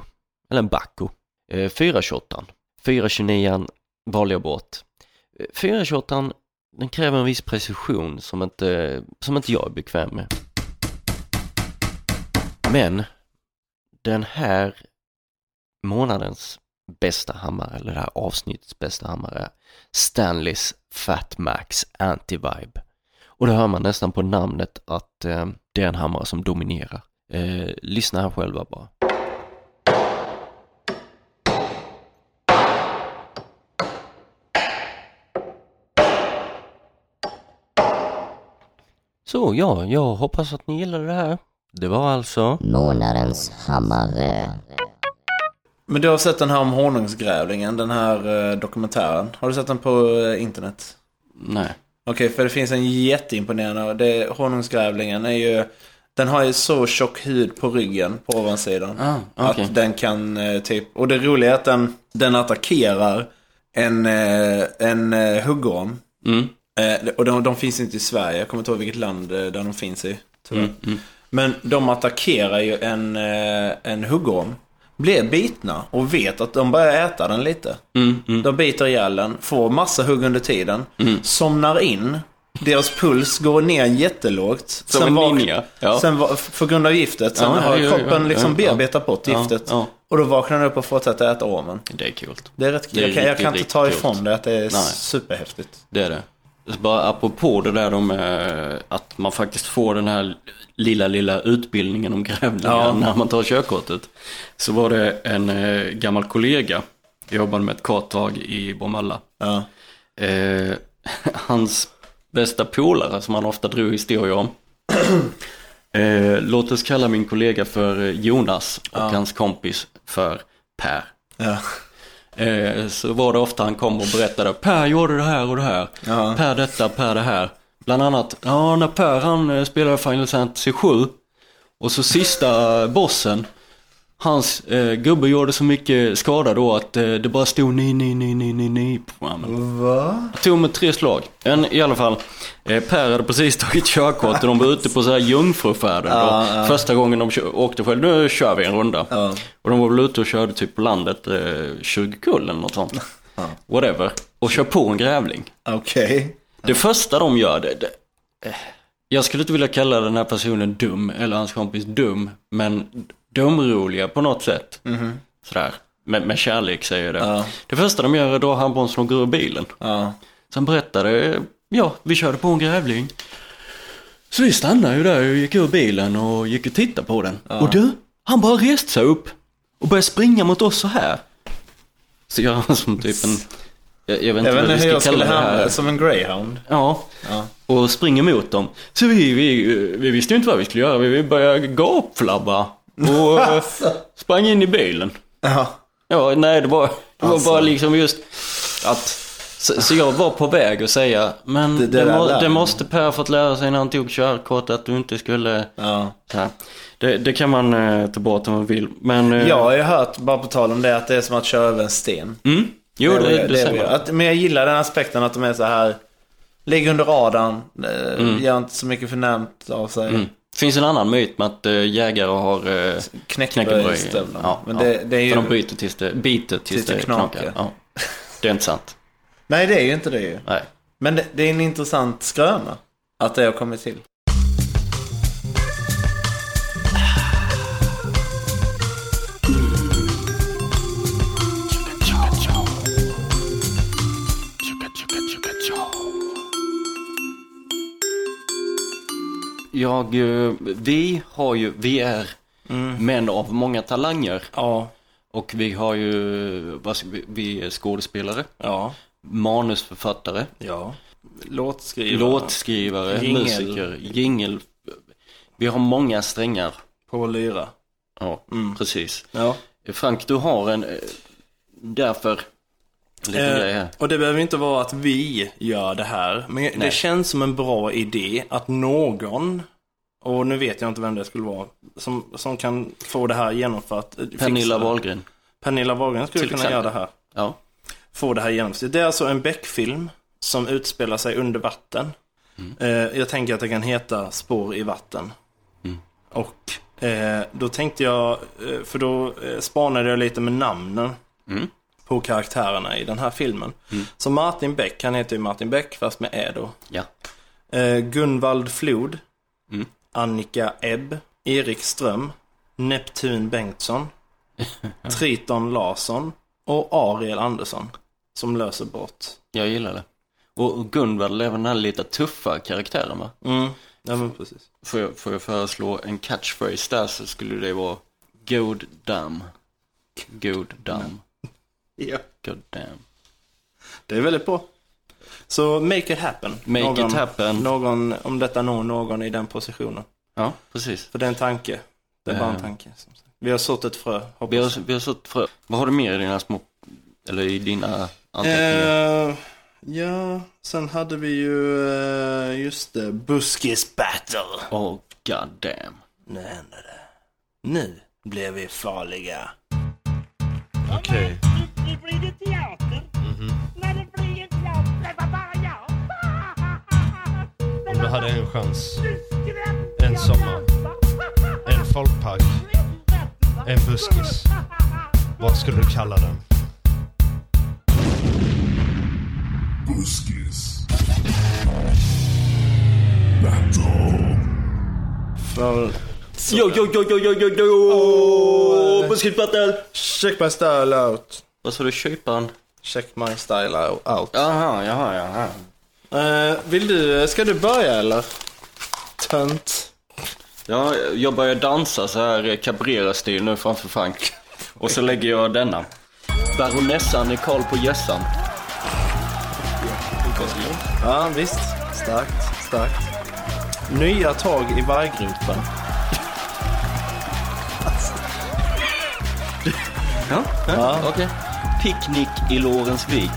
eller en Bacco. Eh, 428. 429 valde jag bort. Eh, 428 den kräver en viss precision som inte, som inte jag är bekväm med. Men den här månadens bästa hammare, eller det här avsnittets bästa hammare, är Stanleys Fat Max Anti-Vibe. Och det hör man nästan på namnet att eh, det är en hammare som dominerar. Eh, lyssna här själva bara. Så ja, jag hoppas att ni gillade det här. Det var alltså...
Månadens hammare.
Men du har sett den här om honungsgrävlingen, den här eh, dokumentären. Har du sett den på eh, internet?
Nej.
Okej, för det finns en jätteimponerande. Det, honungsgrävlingen är ju... Den har ju så tjock hud på ryggen, på ovansidan.
Ah, okej.
Att den kan eh, typ... Och det roliga är att den, den attackerar en, eh, en eh, huggorm.
Mm.
Eh, och de, de finns inte i Sverige, jag kommer inte ihåg vilket land eh, där de finns i. Tyvärr.
Mm,
Men de attackerar ju en, eh, en huggorm. Blir bitna och vet att de börjar äta den lite.
Mm, mm.
De biter ihjäl den, får massa hugg under tiden, somnar in. Deras puls går ner jättelågt.
Som en
vak-
ninja, ja.
sen va- på grund av giftet. Sen
Ja, ja,
har
ja, ja,
kroppen
ja,
liksom
ja.
bearbetat bort
Ja,
giftet.
ja.
Och då vaknar den upp och fortsätter äta ormen.
Det är kul.
Det är rätt
Det är
jag kan, jag
riktigt,
kan inte ta
riktigt
ifrån
coolt.
det att det är
Nej.
superhäftigt.
Det är det. Så Bara apropå det där om eh, att man faktiskt får den här lilla, lilla utbildningen om grävlingar
Ja.
när man tar körkortet. Så var det en eh, gammal kollega, jag jobbade med ett karttag i Bromölla.
Ja.
Eh, hans bästa polare som han ofta drog historier om. eh, låt oss kalla min kollega för eh, Jonas och hans kompis för Per.
Ja.
Eh, så var det ofta han kom och berättade Per gjorde det här och det här.
Ja.
Per detta, Per det här. Bland annat, ja när Per han eh, spelade Final Fantasy 7 och så sista bossen, hans eh, gubbe gjorde så mycket skada då att eh, det bara stod ni, ni, ni, ni, ni, ni på programmet.
Va?
Tog med tre slag. En i alla fall. Eh, Per hade precis tagit körkort och de var ute på så här jungfrufärden
Ja,
då.
ja.
Första gången de kö- åkte själv, nu kör vi en runda.
Ja.
Och de var väl ute och körde typ på landet, eh, 20 kull eller något sånt. Whatever. Och kör på en grävling.
Okej.
Det första de gör, det, det, eh, jag skulle inte vilja kalla den här personen dum, eller hans kompis dum, men dumroliga på något sätt. Sådär, med, med kärlek säger jag det.
Mhm. Ja.
Det första de gör är att dra handbromsen och gå ur bilen.
Ja.
Sen berättade, ja, vi körde på en grävling. Så vi stannade ju där och gick ur bilen och gick och tittade på den. Och du, han bara reste sig upp och började springa mot oss så här. Så gör han som typ en, jag, jag vet inte
Jag vet
vad
inte
vi
hur
ska
jag skulle
kalla det
hamna
här.
som en greyhound.
Ja.
Ja.
Och springer mot dem. Så vi, vi, vi visste ju inte vad vi skulle göra. Vi började gapflabba. Och eh, sprang in i bilen.
Ja.
Ja, nej det var, det
Alltså.
var bara liksom just att... Så, så jag var på väg att säga, men det,
Det- det där
må,
lär
det
han.
måste Per ha fått lära sig när han tog körkort att du inte skulle...
Ja.
Så här. Det, det kan man eh, ta bort om man vill, men... eh,
Jag har ju hört, bara på tal om det, att det är som att köra över en sten.
Mm, jo, det,
är vad
det,
jag- är vad
säger
jag-
man.
att, Men jag gillar den aspekten att de är så här. Ligger under radarn, eh, gör inte så mycket förnämt av sig.
Mm. Finns en annan myt med att eh, jägare har... eh,
Knäckebröd i
Knäckebröd.
stövlarna.
Ja,
Men
ja.
det, det är
För de
ju...
byter tills det, biter tills,
tills det
det knakar. Ja. Det är inte sant.
Nej, det är ju inte det ju.
Nej.
Men det, det är en intressant skröna. Att det har kommit till.
Jag, eh, vi har ju, vi är
Mm.
män av många talanger.
Ja,
Och vi har ju, vad ska vi- vi är skådespelare,
ja,
manusförfattare,
ja. Låtskrivare.
låtskrivare,
Jingel.
musiker, jingel. Vi har många strängar.
På vår lyra.
Ja,
Mm.
precis.
Ja.
Frank, du har en, eh, därför, lite grej
Eh,
här.
och det behöver inte vara att vi gör det här. Men det känns som en bra idé att någon, och nu vet jag inte vem det skulle vara, som, som kan få det här genomfört. eh, fixa
Pernilla
det.
Wahlgren.
Pernilla Wahlgren skulle
Till
kunna
exempel.
göra det här.
Ja.
Få det här genomfört. Det är alltså en Beck-film som utspelar sig under vatten. Eh, jag tänker att det kan heta Spår i vatten. Och eh, då tänkte jag, eh, för då eh, spanade jag lite med namnen på karaktärerna i den här filmen. Så Martin Beck, han heter ju Martin Beck fast med Ä då.
Ja.
Eh, Gunvald Flod. Annika Ebb. Erik Ström. Neptun Bengtsson. Triton Larsson. Och Ariel Andersson. Som löser brott.
Jag gillar det. Och Gunvald är väl den här lite tuffa karaktären va?
Mm. Ja, men precis.
Får jag, får jag föreslå en catchphrase där så skulle det vara God damn. God damn.
Ja.
God damn.
Det är väldigt bra.
Så make it happen.
Make
någon,
it happen.
Någon, om detta når någon i den positionen.
Ja, precis.
För det är en tanke. Det är bara en
Eh.
tanke. Som sagt. Vi har sått ett frö,
Vi
hoppas
har, vi har sått frö. Vad har du mer i dina små... Eller i dina anteckningar?
Eh, ja, sen hade vi ju, eh, just det, Buskis Battle.
oh, god damn.
Nu händer det. Nu blir vi farliga.
Okej. Mhm.
Nu blir det teater. När det blir ett jobb, det var bara jag.
Om du hade en chans.
Nu skrämde
En
jag
sommar.
dansa.
En folkpark. En buskis. Vad skulle du kalla den?
För
Yo, yo, yo, yo, yo, yo, yo! Basketbattle!
check my style out.
Vad sa du, köpan?
Check my style out.
Jaha, jaha, jaha.
Eh, vill du, ska du börja eller? Tönt.
Ja, jag börjar dansa så här eh, Cabrera-stil nu framför Frank. Och så lägger jag denna. Baronessan i Karl på Gässan.
Ja, visst. Starkt, starkt. Nya tag i varggropen.
Ja, ja. okej. Picknick i Lorensvik.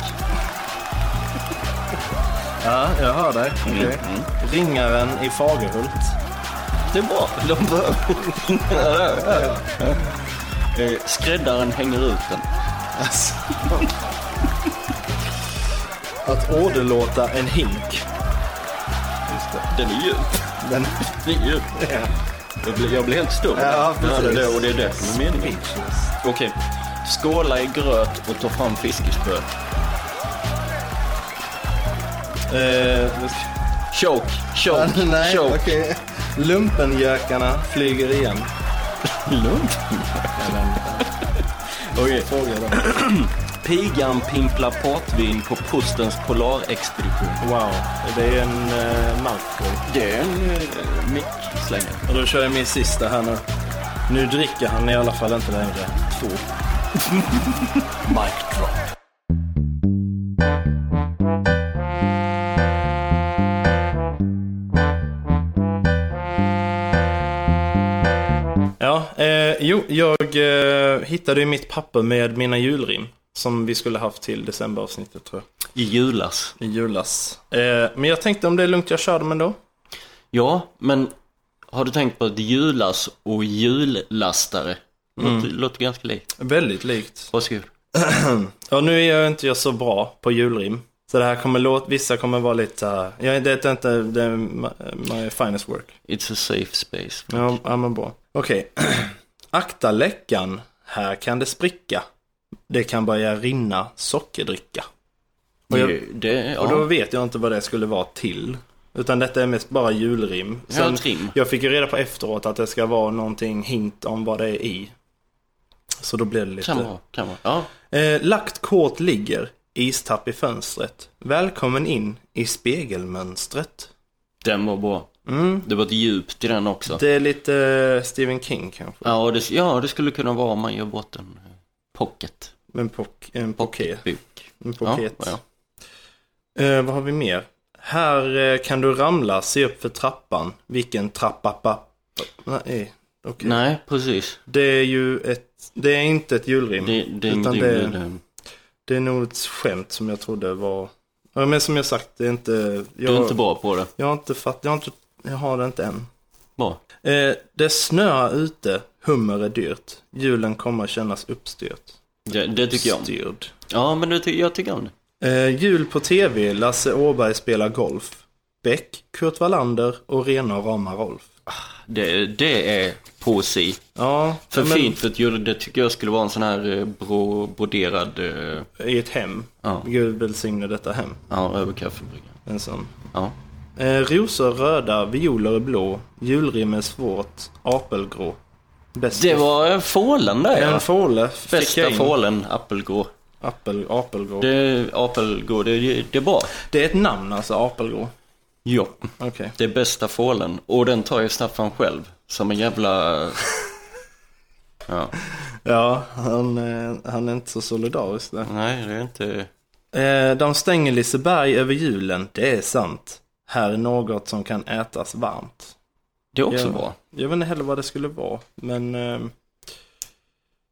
Ja, jag hör dig. Okej. Ringaren i Fagerhult.
Det är bra, de behöver Eh, Skräddaren hänger ut den.
Alltså. Att åderlåta en hink.
Den är djup.
Den...
Den är djup. Jag blir, jag blir helt stum.
Ja, precis.
det är det, och det är det som är meningen. Okej. Skåla i gröt och ta fram fiskespö.
Eh,
Choke, choke,
nej,
choke.
okej. Lumpenjökarna flyger igen.
Lugnt. Okej.
Fråga dem.
Pigan pimplar portvin på Postens polarexpedition.
Wow, det är en eh, mouthful.
Det är en eh, mickslängare.
Och då kör jag min sista här nu. Nu dricker han i alla fall inte längre. Två.
Mic drop.
Ja, eh, jo, jag eh, hittade ju mitt papper med mina julrim. Som vi skulle haft till decemberavsnittet tror
I julas.
jag. I julas. Eh, men jag tänkte om det är lugnt jag kör dem ändå.
Ja, men har du tänkt på att julas och jullastare låter,
Mm.
låter ganska likt?
Väldigt likt.
Varsågod.
Ja, nu är jag inte jag så bra på julrim. Så det här kommer låta, vissa kommer vara lite så här- ja, det är inte, det är my- my finest work.
It's a safe space.
Ja, ja men bra. Okej. Akta läckan, här kan det spricka. Det kan börja rinna sockerdricka. Och, jag,
Det- det, ja.
och då vet jag inte vad det skulle vara till. Utan detta är mest bara julrim.
Ja, ett rim.
jag fick ju reda på efteråt att det ska vara någonting hint om vad det är i. Så då blev det lite...
Kan vara, kan vara. Ja.
Eh, lagt kåt ligger, istapp i fönstret. Välkommen in i spegelmönstret.
Den var bra. Det var ett djupt i den också.
Mm. Det är lite eh, Stephen King kanske.
Ja, och det, ja, det skulle kunna vara om man gör bort en eh, pocket.
Men pock, en pocket.
Pocketbok.
En pocket.
Ja,
Eh, vad har vi mer? Här eh, kan du ramla, se upp för trappan. Vilken trappa? Pa, pa. Nej, okej.
Nej, precis.
Det är ju ett, det är inte ett julrim.
Det, det är
Mm. Utan
ingenting
det-
med det.
Det är nog ett skämt som jag trodde var... Ja, men som jag sagt, det är inte... Jag,
Du är inte bra på det.
Jag har inte fatt, jag har inte, jag har det inte än.
Bra.
Eh, det snöar ute, hummer är dyrt. Julen kommer kännas uppstyrt.
Det, det tycker jag om.
Styrd.
Ja, men det, ty- jag tycker om det.
Eh, jul på tv, Lasse Åberg spelar golf. Beck, Kurt Wallander och rena rama Rolf.
Det, det är poesi.
Ja,
För
men
fint för ett jul, det tycker jag skulle vara en sån här eh, bro, broderad, eh,
i ett hem.
Ja.
Gud välsigne detta hem.
ja, över kaffebryggan.
En sån.
Ja.
Eh, rosor röda, violer är blå. Julrim är svårt, apelgrå. Bäst
Det var en fålen där ja.
En fåle fick jag
Bästa
in.
fålen, apelgrå.
Apel, apelgrå. Det...
Det, apelgrå, det, det, det är bra.
är ett namn alltså, apelgrå.
Ja.
Okej.
Det är bästa fålen. Och den tar ju Staffan själv. Som en jävla... Ja.
Ja, han, eh, han är inte så solidarisk där.
Nej, det är inte...
Eh, de stänger Liseberg över julen, det är sant. Här är något som kan ätas varmt.
Det är också
Ja.
bra.
Jag vet inte heller vad det skulle vara, men... ehm,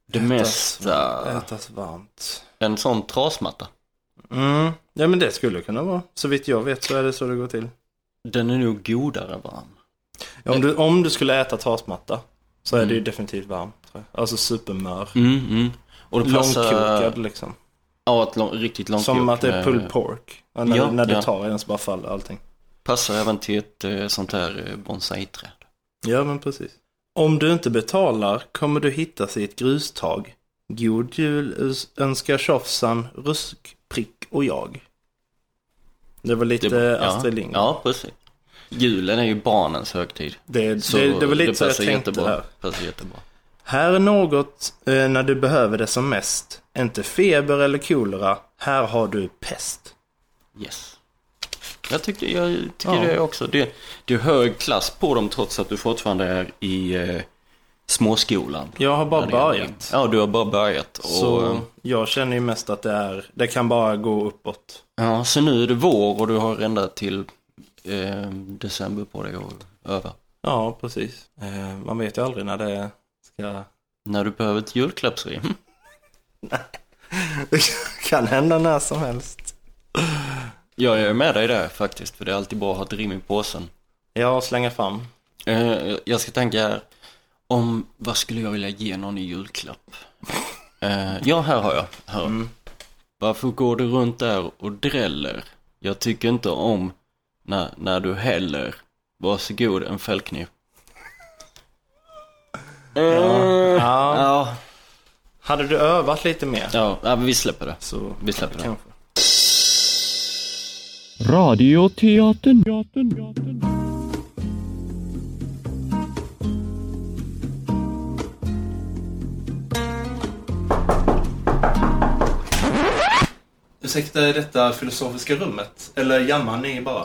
Det
ätas-
mesta.
Ätas varmt.
En sån trasmatta.
Mm. Ja, men det skulle kunna vara. Så vitt jag vet så är det så det går till.
Den är nog godare varm.
Ja, om, du, om du skulle äta trasmatta så är det ju definitivt varmt. tror jag. Alltså supermör.
Mm, mm. Och det
Långkokad
passar...
liksom.
Ja, ett lång, riktigt långkok.
Som att det är
med-
pulled pork. Ja, när
Ja,
när du
ja.
tar i den så bara faller allting.
Passar även till ett eh, sånt här eh, bonsai-träd.
Ja, men precis. Om du inte betalar kommer du hittas i ett grustag. God jul us- önskar tjofsan, rusk, prick och jag. Det var lite
Det- ja.
Astrid Lindgren.
Ja, precis. Julen är ju barnens högtid.
Det, det, det var lite så jag
passar
tänkte
jättebra.
här.
Passar jättebra.
Här är något eh, när du behöver det som mest. Inte feber eller kolera. Här har du pest.
Yes. Jag tycker, jag tycker
Ja.
det också. Det, det är hög klass på dem trots att du fortfarande är i eh, småskolan.
Jag har bara
När det gäller-
börjat.
Ja, du har bara börjat. Och, eh,
Så eh, jag känner ju mest att det är, det kan bara gå uppåt.
Ja, så nu är det vår och du har ända till eh, december på dig att öva.
Ja, precis. Eh, man vet ju aldrig när det ska...
När du behöver ett julklappsrim.
Det kan hända när som helst.
Ja, jag är med dig där faktiskt. För det är alltid bra att ha ett rim i påsen.
Ja, slänga fram.
Eh, jag ska tänka här. Om, vad skulle jag vilja ge någon i julklapp? Eh, ja, här har jag. Här. Varför går du runt där och dräller? Jag tycker inte om när, när du häller. Varsågod, en fällkniv.
Ja. Ja.
Eh, Ja,
Hade du övat lite mer
ja, ja men vi släpper det.
så
Vi släpper det.
kanske.
Radioteatern.
Ursäkta är detta filosofiska rummet? Eller jammar ni bara?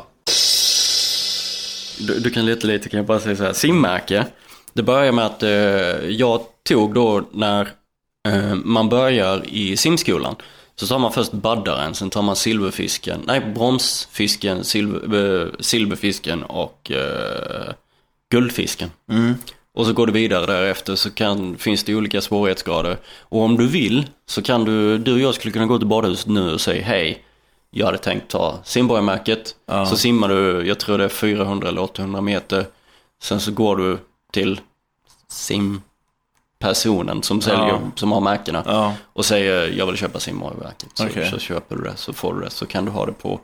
Du, du kan leta lite, kan jag bara säga så här. Simmärke. Det börjar med att eh, jag tog då när eh, man börjar i simskolan. Så tar man först baddaren, sen tar man silverfisken, nej bromsfisken, silver, eh, silverfisken och eh, guldfisken.
Mm.
Och så går du vidare därefter så kan, finns det olika svårighetsgrader. Och om du vill så kan du, du och jag skulle kunna gå till badhuset nu och säga hej. Jag hade tänkt ta simborgarmärket. Så simmar du, jag tror det är 400 eller 800 meter. Sen så går du till simpersonen som säljer, som har märkena.
Ja.
Och säger jag vill köpa simborgarmärket. Så,
Okej.
så köper du det, så får du det. Så kan du ha det på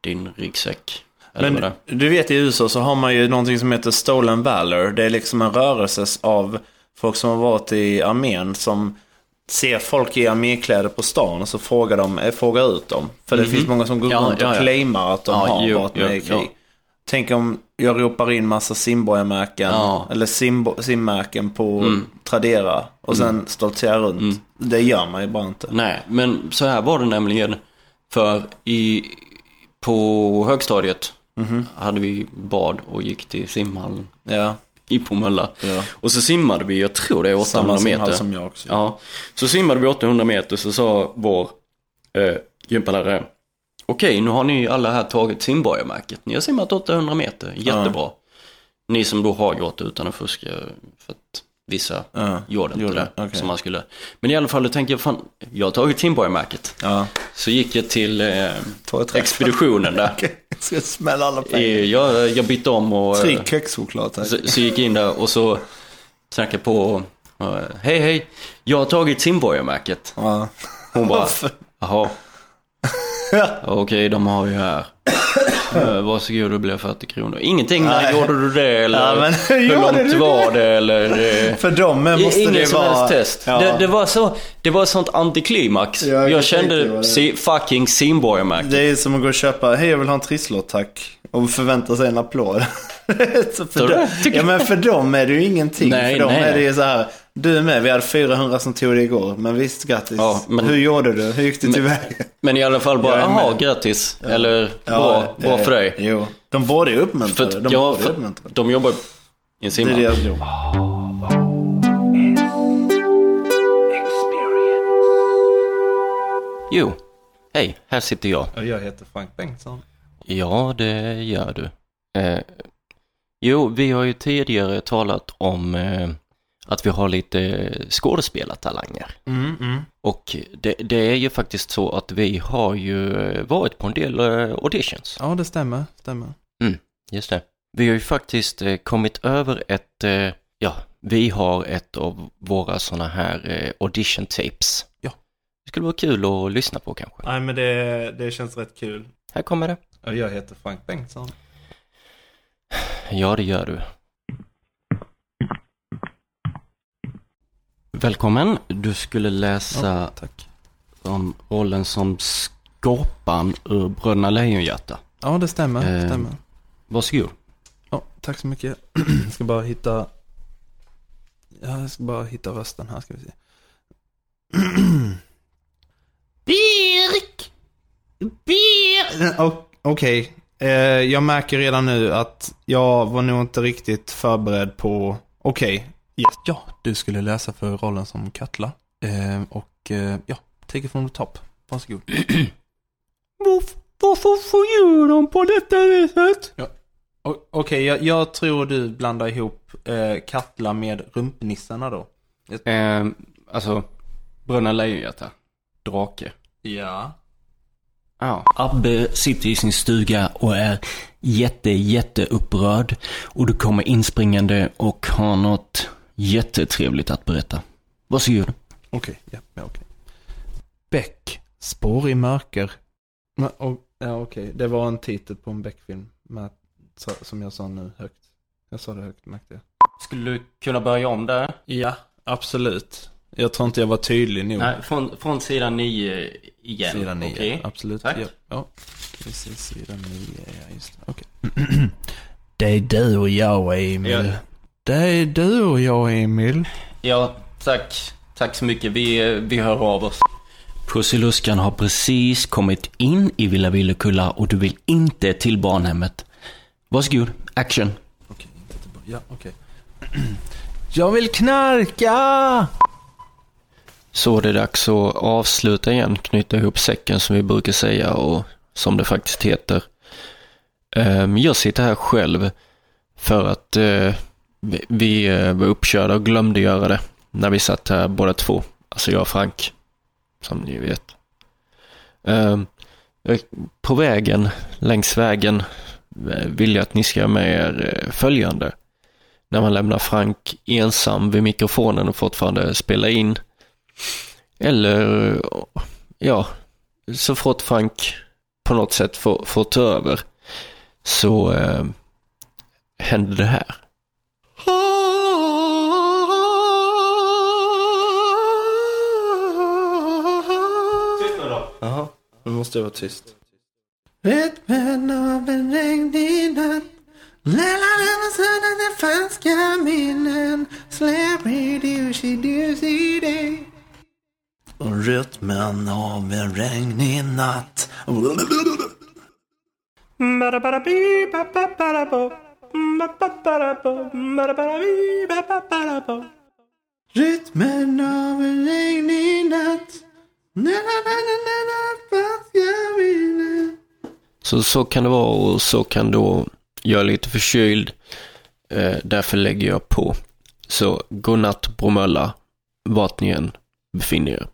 din ryggsäck. Eller vad det
Men
är.
du vet i USA så har man ju någonting som heter Stolen Valor. Det är liksom en rörelse av folk som har varit i armén som ser folk i armékläder på stan och så frågar, de, eh, frågar ut dem. För det finns många som går
Mhm. Ja,
runt
ja,
och
ja.
claimar att de
Ja,
har
jo,
varit med i
jo,
krig.
ja.
Tänk om jag ropar in massa simborgarmärken
Ja. Mm.
eller simbo- simmärken på Tradera och sen stoltserar runt. Det gör man ju bara inte.
Nej, men så här var det nämligen. För i, på högstadiet
Mhm.
hade vi bad och gick till simhallen
Ja,
i Bromölla.
Ja.
Och så simmade vi, jag tror det är 800
samma simhall
meter.
som jag också.
Ja, så simmade vi 800 meter så sa vår eh, gympalärare Okej, nu har ni alla här tagit simborgarmärket. Ni har simmat 800 meter, jättebra. Ni som då har gjort det utan att fuska för att vissa
Ja,
gjorde inte
gjorde,
det
okej.
som man skulle. Men i alla fall, då tänker jag fan, jag har tagit simborgarmärket.
Ja.
Så gick jag till eh,
Ta ett träff.
expeditionen där.
Ska jag smälla alla
Eh, jag, jag bytte om och... eh,
Tre kexchoklad tack.
så, så gick jag in där och så knackade på och, eh, Hej hej, jag har tagit simborgarmärket.
Ja.
Hon bara, jaha. Okej, de har ju här. Eh, Varsågod, det blev 40 kronor. Ingenting, när
Nej.
gjorde du det eller
Ja, men
hur
gjorde
långt
du
var det eller? eh,
För dem eh, måste
Ingen
det
som
vara...
helst test.
Ja.
Det, det, var så, det var sånt antiklimax.
Ja, jag
jag
tänkte vad
kände
det-
si, fucking simborgarmärket.
Det är som att gå och köpa, hej jag vill ha en trisslott tack. Och förvänta sig en applåd. så för,
Tror du?
dem,
Tycker
ja, men för dem är det ju ingenting.
Nej,
för dem
nej,
är det
nej.
ju så här, du är med, vi hade 400 som tog det igår. Men visst, grattis.
Ja, men-
Hur gjorde du? Hur gick det tillväga?
Men i alla fall bara,
Jag är med.
jaha, grattis. Eller bra,
Ja,
bra
eh,
för dig.
Jo, de borde ju
För,
uppmuntra det.
att
De
ja,
borde ju
för,
uppmuntra det.
de jobbar i en
Det är
simhall.
det jag tror.
Jo. Hej, här sitter jag.
Och jag heter Frank Bengtsson.
Ja, det gör du. Eh, jo, vi har ju tidigare talat om eh, att vi har lite skådespelartalanger.
Mm, mm.
Och det, det är ju faktiskt så att vi har ju eh, varit på en del eh, auditions.
Ja, det stämmer. stämmer.
Just det. Vi har ju faktiskt eh, kommit över ett, eh, ja, vi har ett av våra sådana här eh, audition tapes.
Ja.
Det skulle vara kul att lyssna på kanske.
Nej men det, det känns rätt kul.
Här kommer det.
Och jag heter Frank Bengtsson.
Ja, det gör du. Välkommen. Du skulle läsa
Tack.
om rollen som Skorpan ur Bröderna Lejonhjärta.
Ja, det stämmer. det
Eh.
stämmer.
Varsågod.
Ja, tack så mycket. Jag ska bara hitta... Ja, jag ska bara hitta rösten här ska vi se. Birk! Birk! Okej. Eh, jag märker redan nu att jag var nog inte riktigt förberedd på... Okej. Yes. Ja, du skulle läsa för rollen som Katla. Eh, och eh, ja, take it from the top. Varsågod.
Varför får djuren på detta viset?
O- Okej, jag, jag tror du blandar ihop eh, Katla med rumpnissarna då.
Eh, alltså, Bröderna Lejonhjärta. Drake.
Ja.
Ja. Abbe sitter i sin stuga och är jätte, jätte upprörd. Och du kommer inspringande och har något jättetrevligt att berätta. Varsågod.
Okej, ja, ja okej. Bäck, spår i mörker. Ja, och- ja okej, det var en titel på en Beck-film. Med, så- som jag sa nu högt. Jag sa det högt märkte jag.
Skulle du kunna börja om där?
Ja, absolut. Jag tror inte jag var tydlig nog.
Nej, från, från sidan 9 igen.
Sidan 9,
Okej.
absolut.
Tack.
Ja, ja. Precis, sidan 9, ja just det. Okej. det är du och jag Emil.
Ja.
Det är du och jag Emil.
Ja, tack. Tack så mycket. Vi, eh, vi hör av oss. Pussiluskan har precis kommit in i Villa Villekulla och du vill inte till barnhemmet. Varsågod, action.
Okej, inte tillbaka. Ja, okej. jag vill knarka!
Så det är dags att avsluta igen, knyta ihop säcken som vi brukar säga och som det faktiskt heter. Ehm, Jag sitter här själv för att eh, vi- vi eh, var uppkörda och glömde göra det när vi satt här båda två. Alltså jag och Frank, som ni vet. Ehm, jag- På vägen, längs vägen, eh, vill jag att ni ska ha med er eh, följande. När man lämnar Frank ensam vid mikrofonen och fortfarande spelar in eller, ja, så fort Frank på något sätt får, får ta över så eh, händer det här.
Nu måste jag vara tyst. Rytmen av en regnig natt Lalala sådana falska minnen Släpper dusi dusi dig Rytmen av en regnig natt Rytmen av en regnig natt Lalala falska minnen
Så, så kan det vara och så kan då jag är lite förkyld. Eh, därför lägger jag på. Så godnatt Bromölla, vart ni än befinner er.